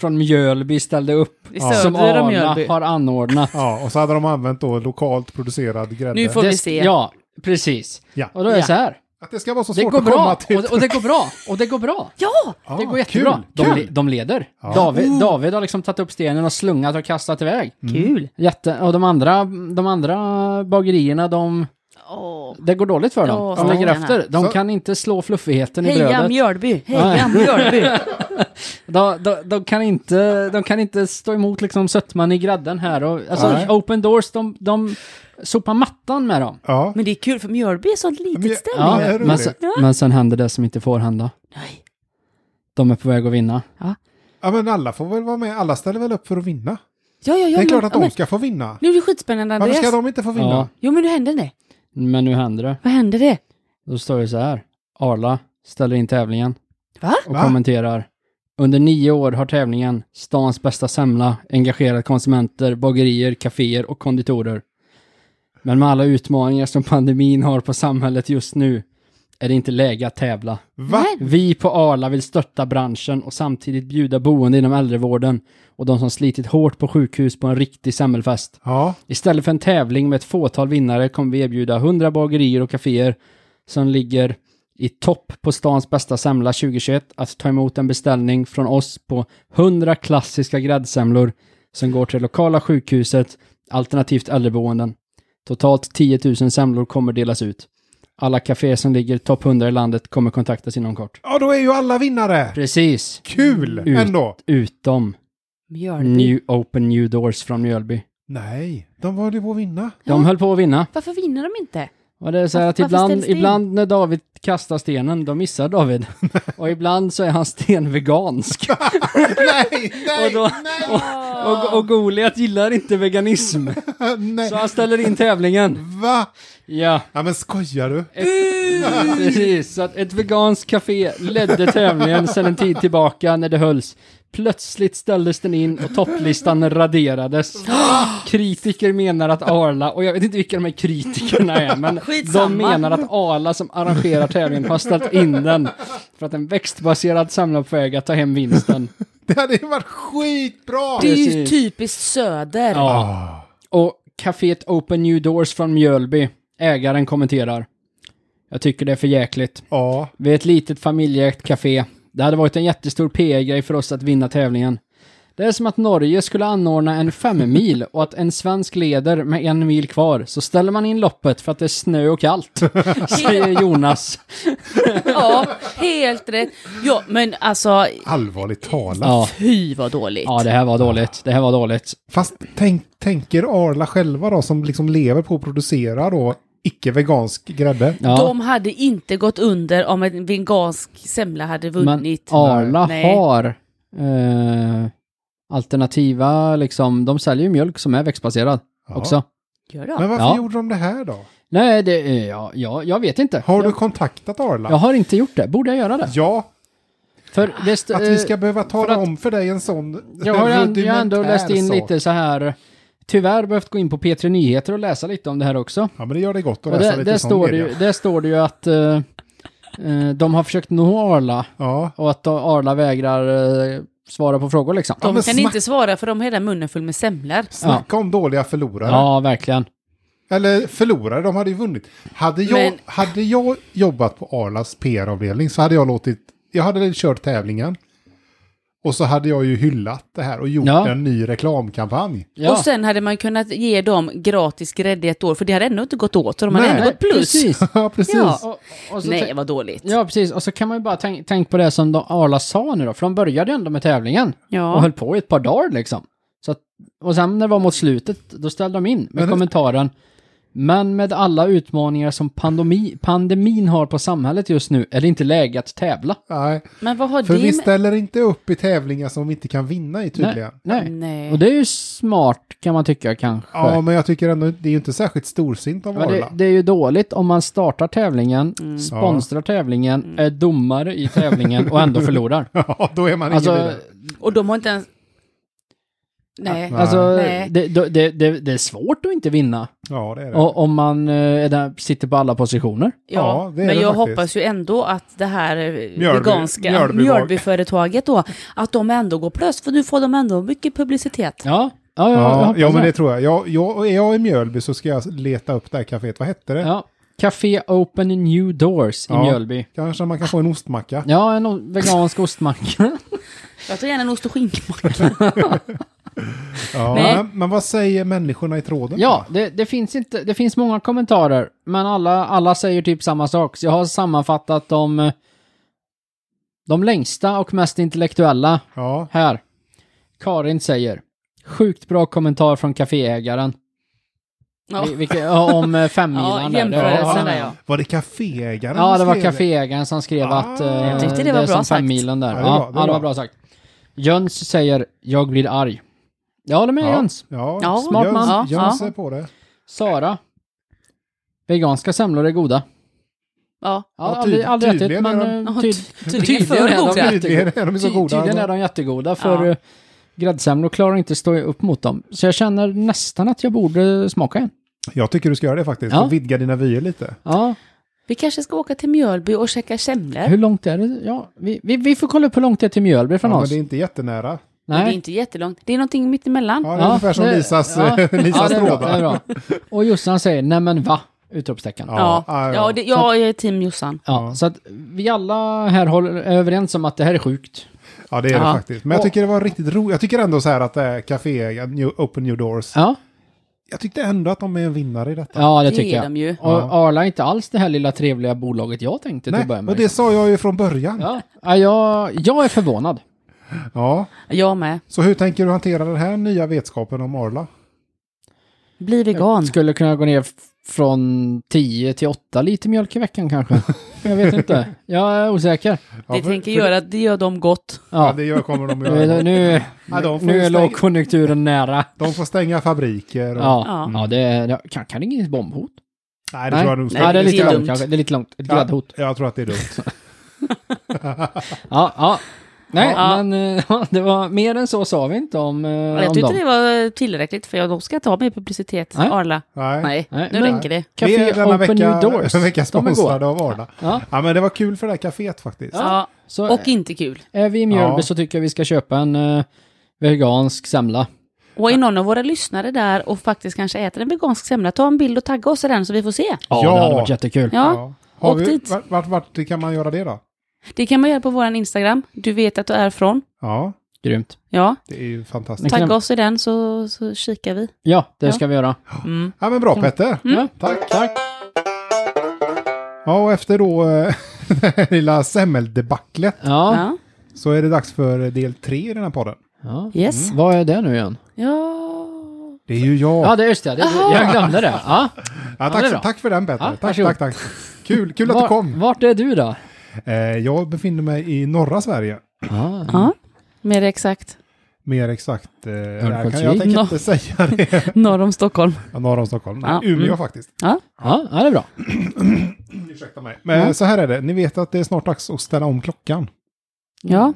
från Mjölby ställde upp. I söder Som om Mjölby. Arla har (laughs) anordnat. Ja, och så hade de använt då lokalt producerad grädde. Nu får- vi Det- se. Ja, precis. Ja. Och då är det Ja. så här. Att det ska vara så Det svårt går att komma bra. till. Och, och det går bra. Och det går bra. Ja! Ja, det går jättebra. Kul, De, kul. le- de leder. Oh. David, David har liksom tagit upp stenen och slungat och kastat iväg. Mm. Kul! Jätte, och de andra, de andra bagerierna, de, Åh. det går dåligt för dem. Åh, de ligger stackarna. efter. De Så- kan inte slå fluffigheten i Heja brödet. Mjölby! Ja, (laughs) Heja ja. Mjölby! De, de, de, kan inte, de kan inte stå emot liksom sötman i grädden här. Och, alltså, Nej. open doors, de, de sopar mattan med dem. Ja. Men det är kul för Mjölby är ett sånt Men litet jag- ställe. Ja, det är Ja, roligt. men, sen, men sen händer det som inte får hända. Nej. De är på väg att vinna. ja, men alla får väl vara med. Alla ställer väl upp för att vinna. Ja, ja, ja. det är men- klart att ja, de men, ska få vinna. Nu är det skitspännande Varför Andreas. ska de inte få vinna? Ja. Jo, men nu hände det. Men nu händer det. Vad hände det? Då står det så här. Arla ställer in tävlingen Va? och Va? kommenterar. Under nio år har tävlingen Stans bästa semla engagerat konsumenter, bagerier, kaféer och konditorer. Men med alla utmaningar som pandemin har på samhället just nu är det inte läge att tävla. Va? Nej. Vi på Arla vill stötta branschen och samtidigt bjuda boende inom äldrevården och de som slitit hårt på sjukhus på en riktig semmelfest. Ja. Istället för en tävling med ett fåtal vinnare kommer vi erbjuda 100 bagerier och kaféer som ligger i topp på stans bästa semla 2021 att ta emot en beställning från oss på 100 klassiska gräddsemlor som går till det lokala sjukhuset alternativt äldreboenden. Totalt 10 000 semlor kommer delas ut. Alla kaféer som ligger topp 100 i landet kommer kontaktas inom kort. ja, då är ju alla vinnare. Precis, Kul Ut. ändå. utom Mjölby. New Open New Doors från Mjölby. Nej, de var ju på (laughs) att vinna. De höll på att vinna. Varför vinner de inte? Och det är så här Varför- att varför ibland, ställs det in? ibland när David kastar stenen, då missar David. och ibland så är han stenvegansk. nej, nej, och, då, och, och, och Goliat gillar inte veganism. nej. så han ställer in tävlingen. Va? Ja, Ja, men skojar du? precis. Så att ett veganskt café ledde tävlingen sedan en tid tillbaka när det hölls. Plötsligt ställdes den in och topplistan raderades. Kritiker menar att Arla, och jag vet inte vilka de här kritikerna är, men Skitsamma. de menar att Arla som arrangerar tävlingen har ställt in den för att en växtbaserad samlarföga tar hem vinsten. Det hade ju varit skitbra! Det är ju Precis. typiskt Söder. Ja. Och caféet Open New Doors från Mjölby, ägaren kommenterar. Jag tycker det är för jäkligt. Ja, Vi är ett litet familjeägt café. Det hade varit en jättestor PR-grej för oss att vinna tävlingen. Det är som att Norge skulle anordna en femmil och att en svensk leder med en mil kvar. Så ställer man in loppet för att det är snö och (laughs) kallt, säger Jonas. Ja, helt rätt. Ja, men alltså, Allvarligt talat. Ja. fy vad dåligt. ja, det här var dåligt. Det här var dåligt. Fast tänk, tänker Arla själva då, som liksom lever på att producera då icke-vegansk grädde. Ja. De hade inte gått under om en vegansk semla hade Men vunnit. Arla Nej. har eh, alternativa, liksom, de säljer ju mjölk som är växtbaserad Ja. också. Gör Men det. varför Ja. gjorde de det här då? Nej, det, eh, ja, ja, jag vet inte. Har du jag, kontaktat Arla? jag har inte gjort det. Borde jag göra det? Ja, För det st- Äh, att vi ska behöva tala eh, att- om för dig en sån Jag har ju ändå- jag har rudimentär ändå läst in sak. lite så här. Tyvärr behövt gå in på P3 Nyheter och läsa lite om det här också. Ja, men det gör det gott att Och läsa där, lite där, sån står det media. ju, där står det ju att eh, eh, de har försökt nå Arla Ja. och att då Arla vägrar eh, svara på frågor liksom. Ja, De men kan smack- inte svara för de har hela munnen full med semlor. Snacka om dåliga förlorare. Ja, verkligen. Eller förlorare, de hade ju vunnit. Hade jag, Men- hade jag jobbat på Arlas PR-avdelning så hade jag låtit, jag hade kört tävlingen. Och så hade jag ju hyllat det här och gjort Ja. en ny reklamkampanj. Ja. Och sen hade man kunnat ge dem gratis grädde i ett år, för det hade ändå inte gått åt, så de hade Nej. ändå ett plus. Precis. ja, precis. Ja. Och, och så Nej, tänk- vad dåligt. ja, precis. Och så kan man ju bara tänka tänk på det som de, Arla sa nu då, för de började ju ändå med tävlingen och Ja. höll på i ett par dagar liksom. Så att, och sen när det var mot slutet, då ställde de in med Men- kommentaren. Men med alla utmaningar som pandemi, pandemin har på samhället just nu är det inte läge att tävla. Nej, Men vad har för det vi med... ställer inte upp i tävlingar som vi inte kan vinna i tydligen. Nej. Nej. Och det är ju smart kan man tycka kanske. Ja, men jag tycker ändå, det är ju inte särskilt storsint av Men det, Arla. det är ju dåligt om man startar tävlingen, Mm. sponsrar tävlingen, är domare i tävlingen och (laughs) ändå förlorar. Ja, då är man ingen Alltså, vidare. Och de har inte ens... Nej. alltså Nej. det, det, det, det är svårt att inte vinna Ja, det är det. och, om man eh, är där, sitter på alla positioner. Ja, Ja, det är men det jag faktiskt. hoppas ju ändå att det här eh, veganska Mjölby- Mjölbyföretaget då, att de ändå går plus, för nu får de ändå mycket publicitet. Ja, ja, ja, jag Ja, hoppas ja, men det tror jag. Jag, jag. är jag i Mjölby så ska jag leta upp det här kaféet. Vad hette det? Ja. Café Open New Doors i Ja. Mjölby. Kanske man kan få en (laughs) ostmacka. Ja, en o- vegansk (laughs) ostmacka. Jag tar gärna en ost och skinkmacka. Ja, Nej. men, men vad säger människorna i tråden? ja, det, det, finns inte, det finns många kommentarer, men alla, alla säger typ samma sak. Så jag har sammanfattat de, eh, de längsta och mest intellektuella Ja, här. Karin säger, sjukt bra kommentar från kaféägaren. Ja. Vi- vilket- (laughs) ja, om eh, femmilan Ja, där. Det var- jämförelsen där, ja. Var det kaféägaren Ja, det som var skrev kaféägaren som skrev Ah. att eh, Jag tyckte det det, var är bra som sagt. femmilen där. Ja, Ja, det det, ja, var- det det, var var. bra sagt. Jöns säger, jag blir arg. Jag håller med Ja, Jöns. ja, Ja, smart smart man. man. Jöns, Ja, Jöns ja. är på det. Sara. Veganska semlor är goda. Ja. Ja, Ja, aldrig, tyd- aldrig ätit, tydligen är men de- eh, Ja, tyd, ty- tydligen för är de goda. jättegoda. Tydligen är de så Ty- goda. Tydligen är de jättegoda, för Ja. ja. gräddsemlor klarar inte stå upp mot dem. Så jag känner nästan att jag borde smaka en. Jag tycker du ska göra det faktiskt. Ja. Och vidga dina vyer lite. Ja, Vi kanske ska åka till Mjölby och käka semlor. hur långt är det? Ja, vi, vi, vi får kolla upp hur långt det är till Mjölby från Ja, men oss. det är inte jättenära. Men Det är inte jättelångt. Det är någonting mitt emellan. Ja, det är ungefär som det- (laughs) Lisas, eh, ja. Lisas det är bra, det är trådar. bra. Och Jossan säger, nej men va? Utropstecken. Ja. Ja, ja, ja, ja. det, jag är team Jossan. så att vi alla här håller, är överens om att det här är sjukt. Ja, det är det Ja. faktiskt. Men jag Och- tycker det var riktigt roligt. Jag tycker ändå så här att det är kaféägaren, New- Open New Doors. Ja, Jag tyckte ändå att de är en vinnare i detta. ja det, Det tycker är jag. de ju. Och Arla är inte alls det här lilla trevliga bolaget jag tänkte till att börja Nej, och med. liksom. det sa jag ju från början. Ja, ja jag, jag är förvånad. Ja. Jag med. Så hur tänker du hantera den här nya vetskapen om Arla? Bli vegan. Skulle kunna gå ner f- från 10 till 8 liter mjölk i veckan (laughs) kanske. Jag vet inte. Jag är osäker. Ja, det för- tänker för- göra, det gör dem gott. Ja, Ja, det gör, kommer de att nu, (laughs) göra. nu, Ja, de får nu ju är stänga- lågkonjunkturen nära. De får stänga fabriker. Och... Ja, Ja. ja det är... det- Kan, kan det inget bombhot? Nej, det tror jag nog Nej, det är lite dumt. långt kanske. Det är lite långt. Ett Ja, gräddhot. Jag tror att det är dumt. Ja, ja. Nej, Ja. men eh, (laughs) ja, det var mer än så sa vi inte om, eh, Jag om tyckte dem. det var tillräckligt för jag då ska jag ta mig publicitet. Nej. Arla. Nej. Nej, Nej, nu men- räcker det. Vi är Café denna Open vecka, New Doors. (laughs) denna vecka De är goda. sponsrade av Arla. Ja. Ja, men det var kul för det här kaféet faktiskt. Ja. Ja. Så Och inte kul. är vi i Mjölby Ja. så tycker jag vi ska köpa en eh, vegansk semla. Och är någon av våra lyssnare där och faktiskt kanske äter en vegansk semla, ta en bild och tagga oss i den så vi får se. Ja, Ja. det hade varit jättekul. Ja, Har Åk vi, dit. vart, vart, vart kan man göra det då? det kan man göra på vår Instagram. Du vet att du är från. Ja. Grymt. Ja, Det är ju fantastiskt. Men kan- tagga oss i den så, så kikar vi. Ja, det Ja. ska vi göra. Mm. Ja men bra Petter. Mm. Ja, Tack. tack. Ja och efter då eh, (laughs) det här lilla semmeldebaclet Ja. Ja. så är det dags för del tre i den här podden. ja. Yes. Vad är det nu igen? Ja. Det är ju jag. Ja, det är just det. det jag glömde det. Ja. Ja, Ja, det är tack, bra. tack för den Petter. Ja, tack, varsågod. tack, tack. Kul, kul att du Var- kom. Vart är du då? Eh, jag befinner mig i norra Sverige. Ja. ja, mer exakt. Mer exakt. Eh, där kan Örnsköldsvik. jag tänker Nå. inte säga det. (laughs) Norr om Stockholm. Ja, norr om Stockholm. Nej, Ja, Umeå mm. faktiskt. Ja. Ja, ja, det är bra. Ursäkta mig. Men Ja. så här är det. Ni vet att det är snart dags att ställa om klockan. ja.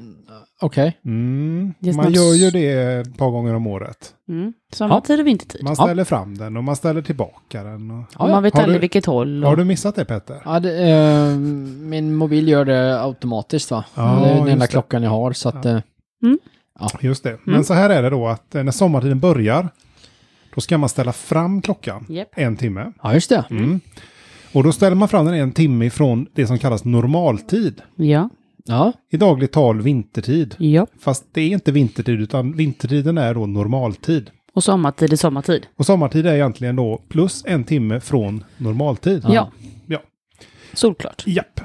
Okej. Mm. Det är Man snart. gör ju det ett par gånger om året. Mm. Sommartid och vintertid. Man Ja. ställer fram den och man ställer tillbaka den. Och... Ja, och man vet Har du- aldrig vilket håll. Och... Har du missat det Petter? Ja, det, eh, min mobil gör det automatiskt va? Ja, det är den just enda det. klockan jag har så att... eh, Just det. Mm. Men så här är det då att eh, när sommartiden börjar då ska man ställa fram klockan Japp. en timme. Ja, just det. Mm. Och då ställer man fram den en timme ifrån det som kallas normaltid. Ja, Ja, I dagligt tal vintertid. ja. Fast det är inte vintertid utan vintertiden är då normaltid. Och sommartid är sommartid. Och sommartid är egentligen då plus en timme från normaltid. Ja. Ja. Solklart. Japp.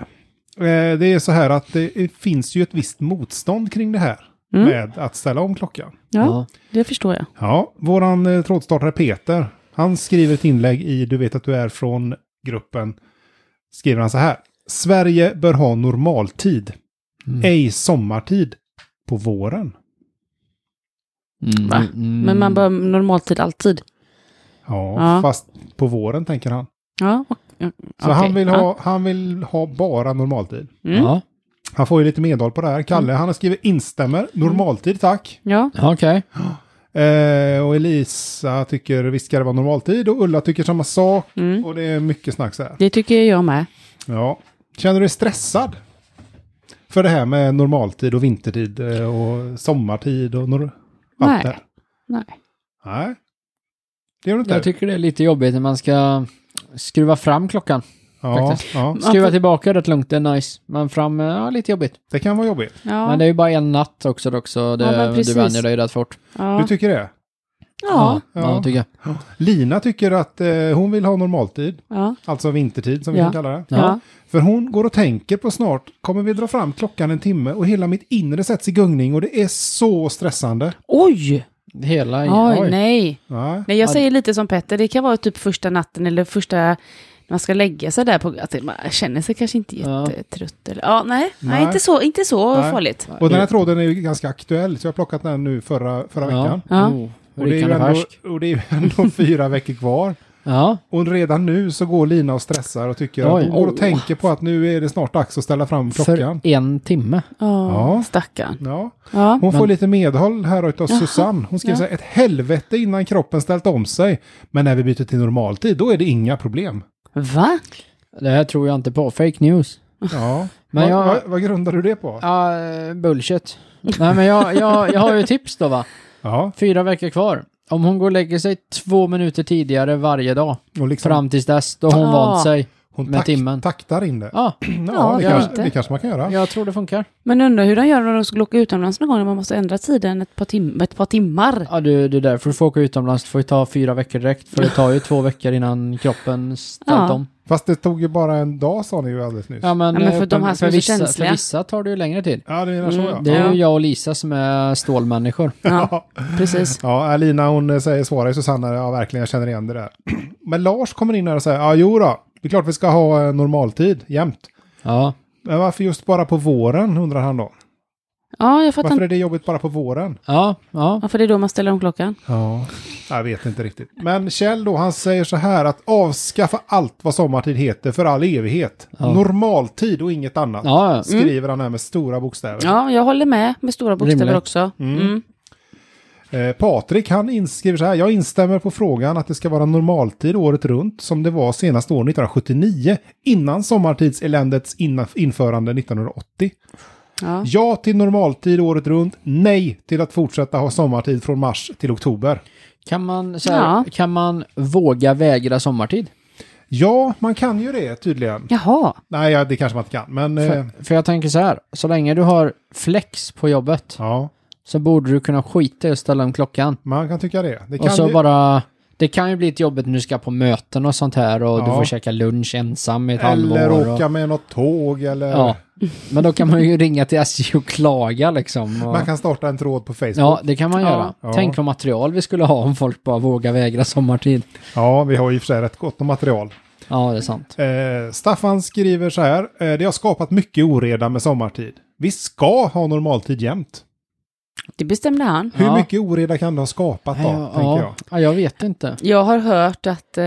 Eh, Det är så här att det finns ju ett visst motstånd kring det här Mm. med att ställa om klockan. Ja, ja. det förstår jag. Ja, våran eh, trådstartare Peter, han skriver ett inlägg i Du vet att du är från gruppen. Skriver han så här. Sverige bör ha normaltid, Mm. ej sommartid på våren. Mm, Va? mm, Men man bör normaltid alltid. Ja, Ja. fast på våren tänker han. Ja, och- ja, Så okej. han, vill Ja. ha, han vill ha bara normaltid. Mm. Ja, Han får ju lite medhåll på det här. Kalle, han har skrivit instämmer, normaltid tack. Ja, Ja, okej. Eh, och Elisa tycker visst ska det vara normaltid och Ulla tycker samma sak. Mm. Och det är mycket snack så här. det tycker jag med. Ja. Känner du dig stressad? För det här med normaltid och vintertid eh, och sommartid och nor- allt Nej. det här. Nej. Nej. Det gör du inte? Jag tycker det är lite jobbigt när man ska skruva fram klockan. ja, faktiskt. ja, Skruva får- tillbaka rätt lugnt, det är nice. Men fram, eh, ja, lite jobbigt. det kan vara jobbigt. Ja, Men det är ju bara en natt också dock, så det, Ja, men du precis. vänjer dig rätt fort. ja. Du tycker det? ja. ja. Ja. tycker jag. Lina tycker att eh, hon vill ha normaltid, Ja. alltså vintertid som vi Ja. kan kalla det. Ja. Ja. För hon går och tänker på snart kommer vi dra fram klockan en timme och hela mitt inre sätts i gungning och det är så stressande. Oj! Hela... Oj, nej. Ja. Nej, jag Ja. säger lite som Petter, det kan vara typ första natten eller första, när man ska lägga sig där, på, att man känner sig kanske inte Ja. jättetrött. Eller, ja, nej, nej. Nej. inte så, inte så Nej. farligt. Och den här tråden är ju ganska aktuell, så jag har plockat den nu förra, förra Ja. veckan. Ja. Oh, Och det, är ju rykande ändå, färsk. och det är ju (laughs) ändå fyra veckor kvar. Ja. Och redan nu så går Lina och stressar och tycker Oj. att hon går och Oh. tänker på att nu är det snart dags att ställa fram klockan. För en timme. Ja, Ja. stackarn. Ja. Ja. Hon får Men- lite medhåll här utav Susanne. Hon skriver Ja. så här, ett helvete innan kroppen ställt om sig. Men när vi byter till normaltid, då är det inga (laughs) problem. Va? Det här tror jag inte på. Fake news. Ja. Men vad, jag- vad, vad grundar du det på? Ja, eh, bullshit. Nej, men jag, jag, jag har ju tips då va. Ja, Fyra veckor kvar. Om hon går och lägger sig två minuter tidigare varje dag. och liksom Fram tills dess, då har hon Ja. vant sig. hon med timmen. taktar in det. (clears throat) Ja, Ja, Ja, det, jag kanske, inte. det kanske man kan göra. jag tror det funkar. Men undrar hur de gör när de ska åka utomlands någon gång när man måste ändra tiden ett par, tim- ett par timmar. Ja, du, det är därför du får åka utomlands. Du får ju ta fyra veckor direkt. För det tar ju två veckor innan kroppen ställt Ja. om. Fast det tog ju bara en dag sa ni ju alldeles nyss. Ja, men, Ja, men för eh, de här som är så vissa, känsliga. för vissa tar det ju längre tid. Ja, det är så ja. Mm, Det är Ja. ju jag och Lisa som är stålmänniskor. (laughs) Ja, precis. Ja, Alina hon eh, säger svarar ju Susanna, ja verkligen jag känner igen det där. (clears throat) Men Lars kommer in här och säger, ja jo då, det är klart vi ska ha eh, normaltid jämt. Ja, Men varför just bara på våren undrar han då. Ja, jag fattar Varför inte. är det jobbigt bara på våren? ja, ja. Varför det är då man ställer om klockan? Ja, jag vet inte riktigt. Men Kjell då, han säger så här att avskaffa allt vad sommartid heter för all evighet. Ja. Normaltid och inget annat. ja. Mm. ja. Skriver han här med stora bokstäver. Ja, jag håller med med stora bokstäver Rimligt. också. Mm. Eh, Patrik han inskriver så här, jag instämmer på frågan att det ska vara normaltid året runt som det var senast år 1979 innan sommartidseländets inna- införande 1980. Ja. Ja till normaltid året runt, nej till att fortsätta ha sommartid från mars till oktober. Kan, man, så här, Ja. kan man våga vägra sommartid? Ja, man kan ju det tydligen. Jaha, Nej, ja, det kanske man inte kan, men eh, För, för jag tänker så här, så länge du har flex på jobbet ja, så borde du kunna skita i att ställa om klockan. Man kan tycka det. Det kan Och så ju, bara... Det kan ju bli ett jobbigt när du ska på möten och sånt här och du Ja. får käka lunch ensam i ett eller halvår. Och, åka med något tåg eller... ja. Men då kan man ju ringa till SJ och klaga liksom. Och, Man kan starta en tråd på Facebook. ja, Ja, det kan man Ja. göra. Ja. Tänk vad material vi skulle ha om folk bara vågar vägra sommartid. vi har ju i och för sig rätt gott om material. Ja, det är sant. Eh, Staffan skriver så här. Eh, det har skapat mycket oreda med sommartid. Vi ska ha normaltid jämt. Det bestämde han. Hur Ja. mycket oreda kan det ha skapat då, ja, tänker jag. ja. ja, jag vet inte. Jag har hört att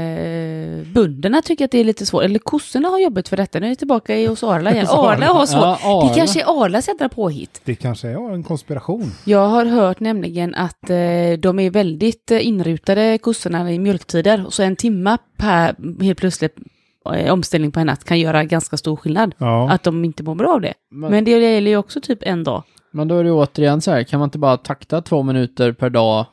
eh, bönderna tycker att det är lite svårt, eller kossorna har jobbit för detta. Nu är jag tillbaka i hos Arla igen. Arla har svårt. Ja, Arla. Det kanske är Arlas jädra påhitt. Det kanske är en konspiration. Jag har hört nämligen att eh, de är väldigt eh, inrutade kossorna i mjölktider. Så en timma per helt plötsligt eh, omställning på en natt kan göra ganska stor skillnad. Ja. Att de inte mår bra av det. Men- Men, det gäller ju också typ en dag. Men då är det återigen så här, kan man inte bara takta två minuter per dag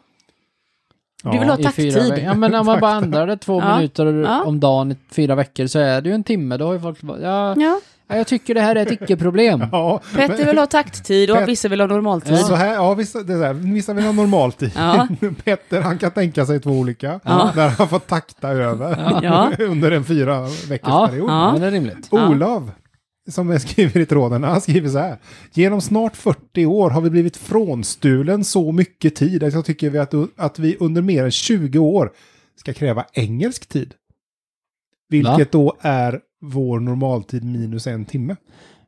Du vill ha i fyra veckor? takttid. Ja, men om (laughs) man bara ändrar det två Ja. minuter Ja. om dagen i fyra veckor så är det ju en timme. Då har ju folk bara, ja, Ja. ja, jag tycker det här är ett icke-problem. Ja, Petter men- vill ha takttid och Pet- vissa vill ha normaltid. Så här, ja, vissa, det är så här, vissa vill ha normalt i. Ja. (laughs) Petter han kan tänka sig två olika. Ja. Där han får takta över (laughs) Ja. under en fyra veckors Ja, period. Ja. men det är rimligt. Ja. Olav, som skriver i tråden, han skriver så här. Genom snart 40 år har vi blivit frånstulen så mycket tid att jag tycker vi att, att vi under mer än 20 år ska kräva engelsk tid. Vilket Va? då är vår normaltid minus en timme.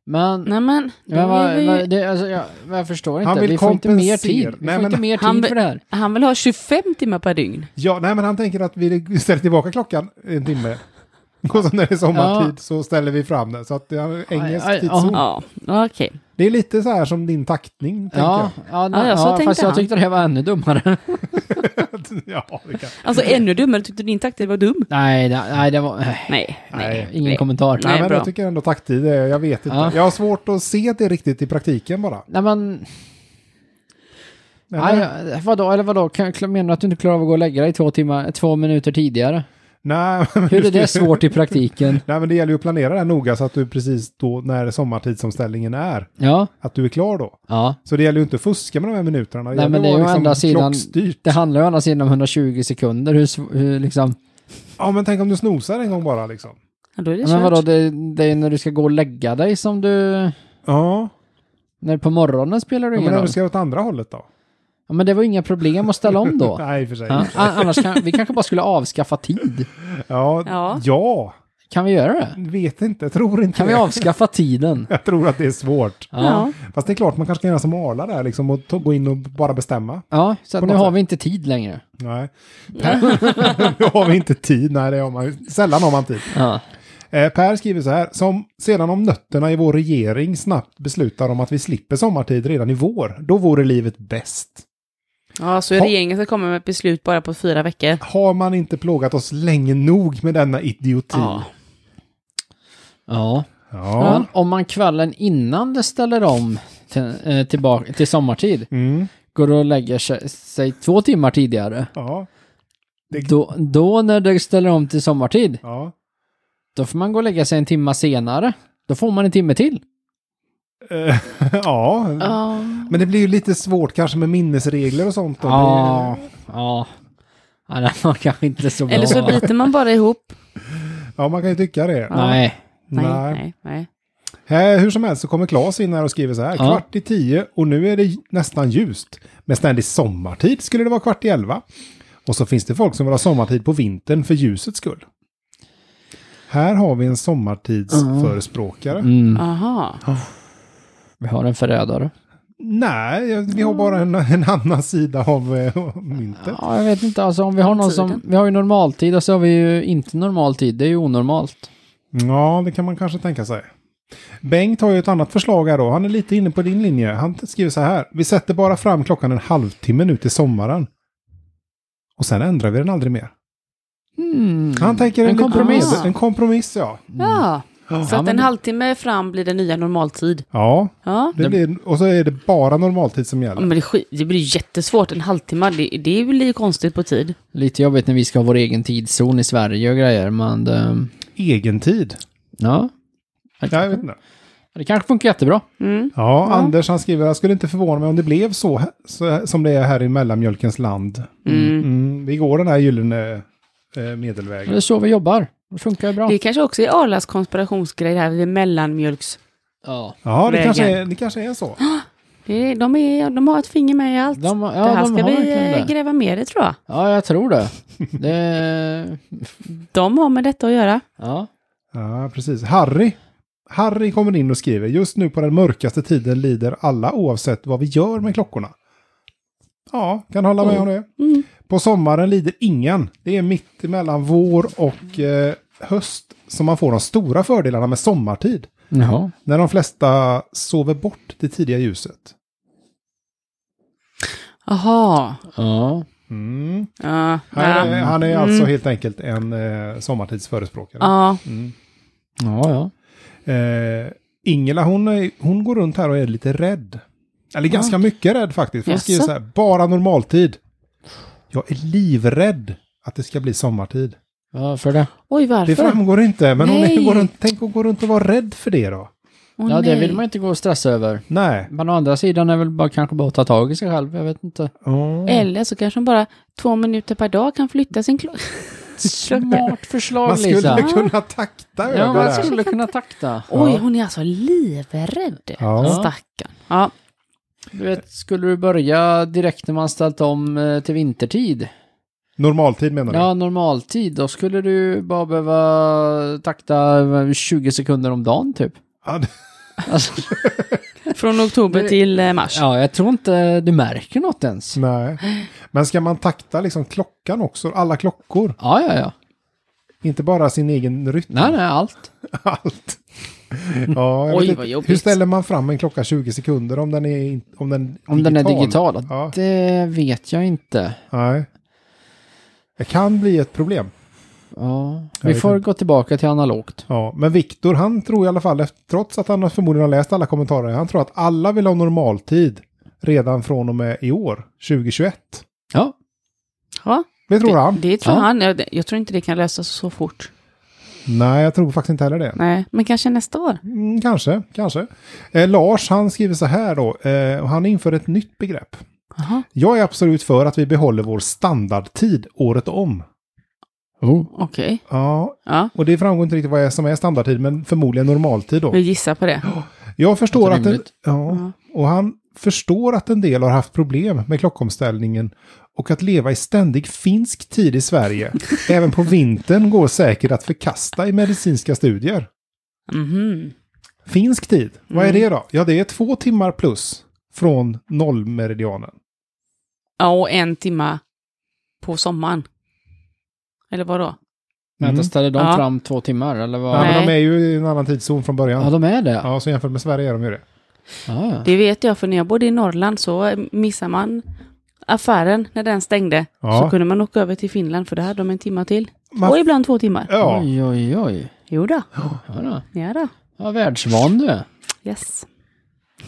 Men, Nej men, då men vad, är vi ju- vad, det, alltså, jag, jag förstår Han inte. vill Vi får inte mer tid. kompensera. Vi får Nej, inte men- mer Han tid be- för det här. han vill ha 25 timmar per dygn. Ja, nej men han tänker att vi ställer tillbaka klockan en timme. (laughs) Och så när det är sommartid så ställer vi fram det. Så att det är engelsk Aj, aj, tidszon. Oh. Ja, okej. Det är lite så här som din taktning, Ja, ja, nej, ja, så ja, fast tänkte jag han. tyckte det här var ännu dummare. tänker jag. (laughs) ja, det kan. Alltså ännu dummare, tyckte din taktik var dum? nej, nej, nej, det var... Nej, Nej, nej. ingen nej. kommentar. Nej, Nej, men bra. jag tycker ändå takttid, är- jag vet inte. Ja. Jag har svårt att se det riktigt i praktiken bara. Nej, men... Men, Nej, nej, ja, vadå, eller vadå, kan, kl- menar du att du inte klarar av att gå och lägga dig två, timmar, två minuter (laughs) tidigare? men Hur är just det svårt i praktiken? Nej, men det gäller ju att planera det här noga så att du precis då när sommartidsomställningen är, Ja, att du är klar då. ja. Så det gäller ju inte att fuska med de här minuterna. Nej, gäller men att det är vara liksom ju å andra sidan- klockstyrt. Det handlar ju å andra sidan om 120 sekunder, hur, sv- hur liksom... Ja, men tänk om du snosar en gång bara liksom. Ja, då är det Ja, men vadå, kört. det, det är när du ska gå och lägga dig som du... Ja, När på morgonen spelar det ja ingen men när roll. du ska åt andra hållet då? Ja, men det var inga problem att ställa om då. (laughs) Nej, i och för sig. Ja, a- annars kan, vi kanske bara skulle avskaffa tid. Ja, ja. Ja. Kan vi göra det? vet inte, jag tror inte Kan vi det. avskaffa tiden? Jag tror att det är svårt. Ja. Ja. Fast det är klart, man kanske kan göra som Arla där, liksom, och ta- gå in och bara bestämma. Ja, så att På nu något har sätt. vi inte tid längre. Nej. Per, (laughs) nu har vi inte tid. Nej, det har man ju. Sällan har man tid. Ja. Eh, per skriver så här. Som sedan om nötterna i vår regering snabbt beslutar om att vi slipper sommartid redan i vår, då vore livet bäst. ja, så regeringen ska komma med ett beslut bara på fyra veckor. Har man inte plågat oss länge nog med denna idioti? Ja. ja. Ja. Men om man kvällen innan det ställer om till, eh, tillbaka, till sommartid, Mm. går och lägger sig, sig två timmar tidigare, ja. då, då när det ställer om till sommartid, ja. (laughs) då får man gå och lägga sig en timma senare. Då får man en timme till. Eh, ja. Ja. Men det blir ju lite svårt kanske med minnesregler och sånt. Då. Ja, ja. Ja, det var kanske inte så bra. Eller så biter man bara ihop. Det- ja, man kan ju tycka det. Nej. Nej, Nej. nej, nej. Eh, Hur som helst så kommer Claes in här och skriver så här. Ja. Kvart i tio och nu är det j- nästan ljust. Med ständig sommartid skulle det vara kvart i elva. Och så finns det folk som vill ha sommartid på vintern för ljusets skull. Här har vi en sommartidsförespråkare. Mm, Aha. vi har en förrädare. Nej, jag- vi har bara en, en annan sida av eh, myntet. Ja, jag vet inte. Alltså, om vi har någon som... Vi har ju normaltid och så har vi ju inte normaltid. Det är ju onormalt. Ja, det kan man kanske tänka sig. Bengt har ju ett annat förslag här då. Han är lite inne på din linje. Han skriver så här. Vi sätter bara fram klockan en halvtimme nu till sommaren. Och sen ändrar vi den aldrig mer. Mm. Han tänker en, En kompromiss. liten- En kompromiss, ja. Ja. Så Ja, att men en det- halvtimme fram blir den nya normaltid. Ja, Ja. det blir, och så är det bara normaltid som Ja, gäller. Men det, sk- det blir jättesvårt, en halvtimme, det, det blir ju konstigt på tid. Lite jobbigt när vi ska ha vår egen tidszon i Sverige och grejer, men... ehm, Egentid. ja. Ja, jag vet inte. Det kanske funkar jättebra. Mm. Ja, Ja. Anders han skriver, jag skulle inte förvåna mig om det blev så, här, så som det är här i mellanmjölkens land. Mm. Mm, vi går den här gyllene eh, medelvägen. Det är så vi jobbar. Det funkar bra. Det kanske också är Arlas konspirationsgrej det här vid mellanmjölks... Ja. Ja, det Vägen. kanske, är, det kanske är så. Det är- De, är, de har ett finger med i allt. De, ja, det här de ska har vi verkligen eh, det. gräva mer i tror jag. Ja, jag tror (laughs) det. det De har med detta att göra. ja. Ja, precis. Harry. Harry kommer in och skriver, just nu på den mörkaste tiden lider alla oavsett vad vi gör med klockorna. Ja, kan hålla med om det. Mm. På sommaren lider ingen. Det är mitt emellan vår och eh, höst som man får de stora fördelarna med sommartid. Jaha. När de flesta sover bort det tidiga ljuset. Jaha. Ja. Mm. Ja. Han, är, Ja. han är alltså Mm. helt enkelt en eh, sommartidsförespråkare. Ja. Mm. Ja, ja. Eh, Ingela hon, är, hon går runt här och är lite rädd. Eller ganska mycket rädd faktiskt. Hon Jaså? skriver så här, bara normaltid. Jag är livrädd att det ska bli sommartid. Varför det? Oj, varför? Det framgår inte, men hon är, Nej. går runt, tänk att gå runt och vara rädd för det då. Åh, ja, det nej. vill man inte gå och stressa över. Nej. Men å andra sidan är väl bara kanske bara att ta tag i sig själv. Jag vet inte. Mm. Eller så kanske de bara två minuter per dag kan flytta sin klocka. Smart förslag, Man Lisa. skulle (laughs) kunna takta Ja, över man det. skulle kunna takta. Oj, hon är alltså livrädd. Ja. Stackarn. Ja. Du vet, skulle du börja direkt när man ställt om eh, till vintertid? Normaltid menar du? Ja, normaltid. Då skulle du bara behöva takta 20 sekunder om dagen typ. Ja, det- Alltså, Från oktober till eh, mars. ja, jag tror inte du märker något ens. Nej. Men ska man takta liksom klockan också? Alla klockor? Ja, ja, ja. Inte bara sin egen rytm? Nej, nej, allt. allt. Ja, jag Oj, vet vad inte. jobbigt. Hur ställer man fram en klocka 20 sekunder om den är, in- om den Om den är digital. Ja. Det vet jag inte. Nej. Det kan bli ett problem. Ja. Jag Vi vet får inte. gå tillbaka till analogt. Ja, men Viktor, han tror i alla fall, efter- trots att han förmodligen har läst alla kommentarer, han tror att alla vill ha normaltid redan från och med i år, 2021. Ja, Ja. Det tror Det, han. det tror Ja. han. Jag, jag tror inte det kan lösas så fort. Nej, jag tror faktiskt inte heller det. Nej, men kanske nästa år. Mm, kanske, kanske. Eh, Lars, han skriver så här då, eh, och han inför ett nytt begrepp. Jaha, Jag är absolut för att vi behåller vår standardtid året om. Oh. okej. Ja, Ja, och det framgår inte riktigt vad är- som är standardtid, men förmodligen normaltid då. vi gissar på det. Jag förstår att... En, rimligt. ja, Ja. och han förstår att en del har haft problem med klockomställningen och att leva i ständig finsk tid i (laughs) Sverige, även på vintern, går säkert att förkasta i medicinska studier. Mhm. Finsk tid, vad Mm. är det då? Ja, det är två timmar plus från nollmeridianen. Ja, och en timma på sommaren. Eller vadå? Vänta, Mm. ställer de Ja. fram två timmar eller vad? Ja, men de Nej. är ju i en annan tidszon från Ja, början. de är det. Ja. Ja, så jämfört med Sverige är de ju det. Ja. Det vet jag, för när jag bodde i Norrland så missar man affären när den stängde. Ja. Så kunde man åka över till Finland, för där hade de en timma till. Man- Och ibland två timmar. Ja, Oj, oj, oj. Jo då. Ja, då. Ja, då. ja världsvan du är. Yes.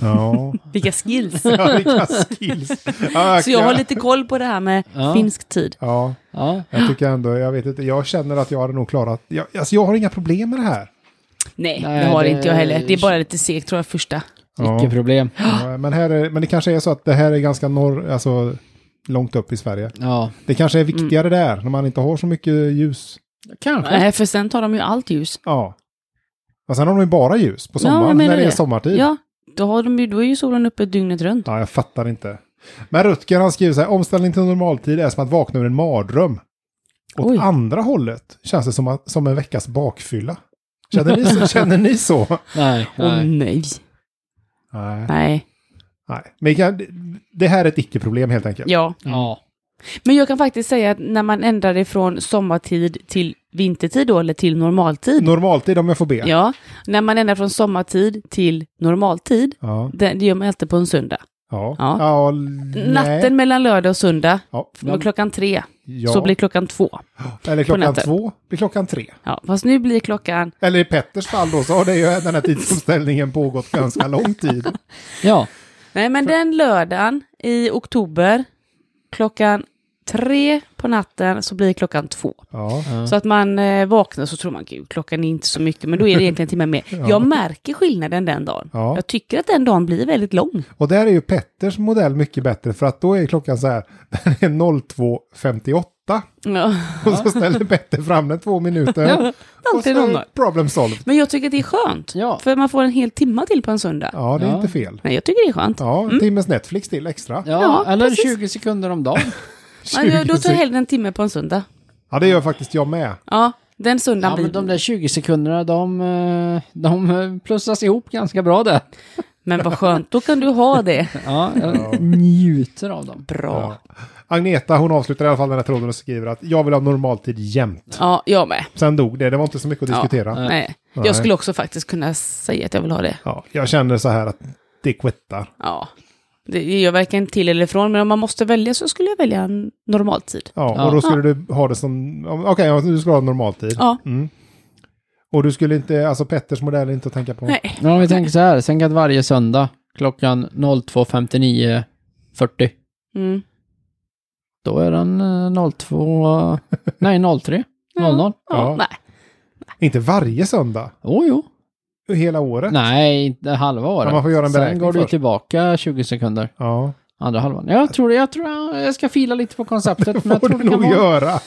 ja. Vilka skills. ja vilka skills. Ja, (laughs) Så jag har lite koll på det här med Ja. finsk tid. Ja, Ja. jag tycker ändå, jag vet inte, jag känner att jag hade nog klarat, jag, alltså jag har inga problem med det här. Nej, Nej, det har det- inte jag heller. Det är bara lite segt tror jag, första. Ja. Icke problem. Ja, Men, här är, men det kanske är så att det här är ganska norr, alltså långt upp i Sverige. Ja, Det kanske Mm. är viktigare där, när man inte har så mycket ljus. kanske. Nej, för sen tar de ju allt ljus. Ja. Och sen har de ju bara ljus på Ja, jag sommaren, menar när det är det. sommartid. Ja, då, har de ju, då är ju solen uppe dygnet runt. ja, jag fattar inte. Men Rutger han skriver så här, omställning till normaltid är som att vakna ur en mardröm. Åt Oj. andra hållet känns det som, att, som en veckas bakfylla. Känner ni (laughs) så? Känner ni så? Nej, Åh nej. nej. Nej. Nej. Nej. Men kan, det här är ett icke-problem helt enkelt. Ja. Ja. Men jag kan faktiskt säga att när man ändrar det från sommartid till vintertid då, eller till normaltid. Normaltid om jag får be. Ja. Ja, när man ändrar från sommartid till normaltid, Ja. det, det gör man alltid på en söndag. ja. Ja. l- Natten mellan lördag och söndag, Ja. från klockan tre, Ja. så blir klockan två. Eller klockan natten. två, blir klockan tre. Ja, fast nu blir klockan... Eller i Petters fall då så har det ju den här tidsomställningen pågått ganska lång tid. Ja. Nej, men den lördagen i oktober, klockan tre på natten så blir klockan två. Ja. Så att man eh, vaknar så tror man gud, klockan är inte så mycket, men då är det egentligen en timme mer. (laughs) Ja. Jag märker skillnaden den dagen. Ja. Jag tycker att den dagen blir väldigt lång. Och där är ju Petters modell mycket bättre för att då är klockan så här, den är 02.58 Ja. och så ställer Petter fram den två minuter. och så Alltid någon är dag. problem solved. Men jag tycker att det är skönt, Ja. för man får en hel timma till på en söndag. Ja, det är Ja. inte fel. Nej, jag tycker det är skönt. Ja, en timmes Netflix till extra. Ja, Ja, eller precis. 20 sekunder om dagen. 20 Ja, jag, då tar (laughs) jag sek- hellre en timme på en söndag. ja, det gör faktiskt jag med. Ja, den söndagen Ja, blir... men de där 20 sekunderna, de, eh, de eh, plussas ihop ganska bra där. Men vad skönt, då kan du ha (laughs) det. Ja, jag njuter av dem. Bra. Ja. Agneta, hon avslutar i alla fall den här tråden och skriver att jag vill ha normaltid jämt. Ja, jag med. Sen dog det, det var inte så mycket att Ja. diskutera. Ja, Nej. Nej. Jag skulle också faktiskt kunna säga att jag vill ha det. jag känner så här att det kvittar. Ja. Det, jag verkar inte till eller från, men om man måste välja så skulle jag välja en normaltid. Ja, Ja. och då skulle du ha det som, ja, okej, ja, du skulle ha normaltid. Ja. Mm. Och du skulle inte, alltså Petters modell är inte att tänka på. Nej. Men om vi tänker så här, sen kan varje söndag klockan 02.59.40, Mm. då är den eh, (laughs) 02... Nej, 03. 00. Ja. Ja, nej. Inte varje söndag, Jo, jo. hela året. Nej, inte halva året. Ja, man får göra en sen beräkning går du först. tillbaka 20 sekunder, Ja, andra halvan. Jag tror, jag tror jag ska fila lite på (laughs) konceptet, men jag får tror du det kan nog vara... göra.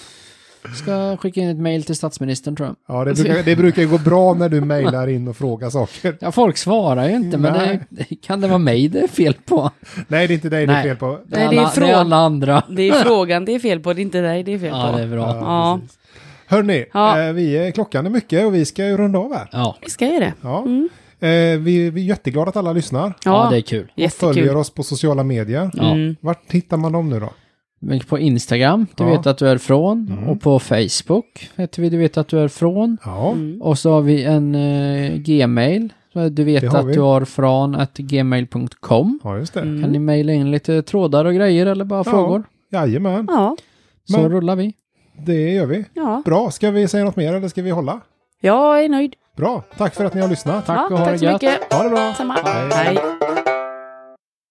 Ska skicka in ett mejl till statsministern, tror Alltså, jag. Ja, det brukar, det brukar ju gå bra när du mejlar in och frågar saker. Ja, folk svarar ju inte, men Nej. det, kan det vara mig det är fel på? Nej, det är inte dig det är Nej. fel på. Nej, det är alla, från- alla andra. Det (laughs) är frågan det är fel på, det är inte dig det är fel på. Ja, det är bra. Ja. precis. Hörrni, Ja. eh, vi är, klockan är mycket och vi ska ju runda av här. Ja, Vi ska ju det. Ja. Mm. Eh, vi, vi är jätteglada att alla lyssnar. ja. Ja, det är kul. Följer jättekul. oss på sociala medier. Ja. Mm. Vart hittar man dem nu då? Men På Instagram, du Ja. Mm. vet att du är från. Och på Facebook heter vi Du vet att du är från. Ja, Och så har vi en eh, Gmail. Så är Du Det vet har att vi. du har från att gmail.com. ja just det. Mm. Kan ni mejla in lite trådar och grejer eller bara Ja. frågor? Jajamän, Ja, Så Men- rullar vi. det gör vi. ja. Bra, ska vi säga något mer eller ska vi hålla? Jag är nöjd. Bra, tack för att ni har lyssnat. Tack ja, och ha tack det så gött. mycket. Ha det bra. Samma. Hej. Hej.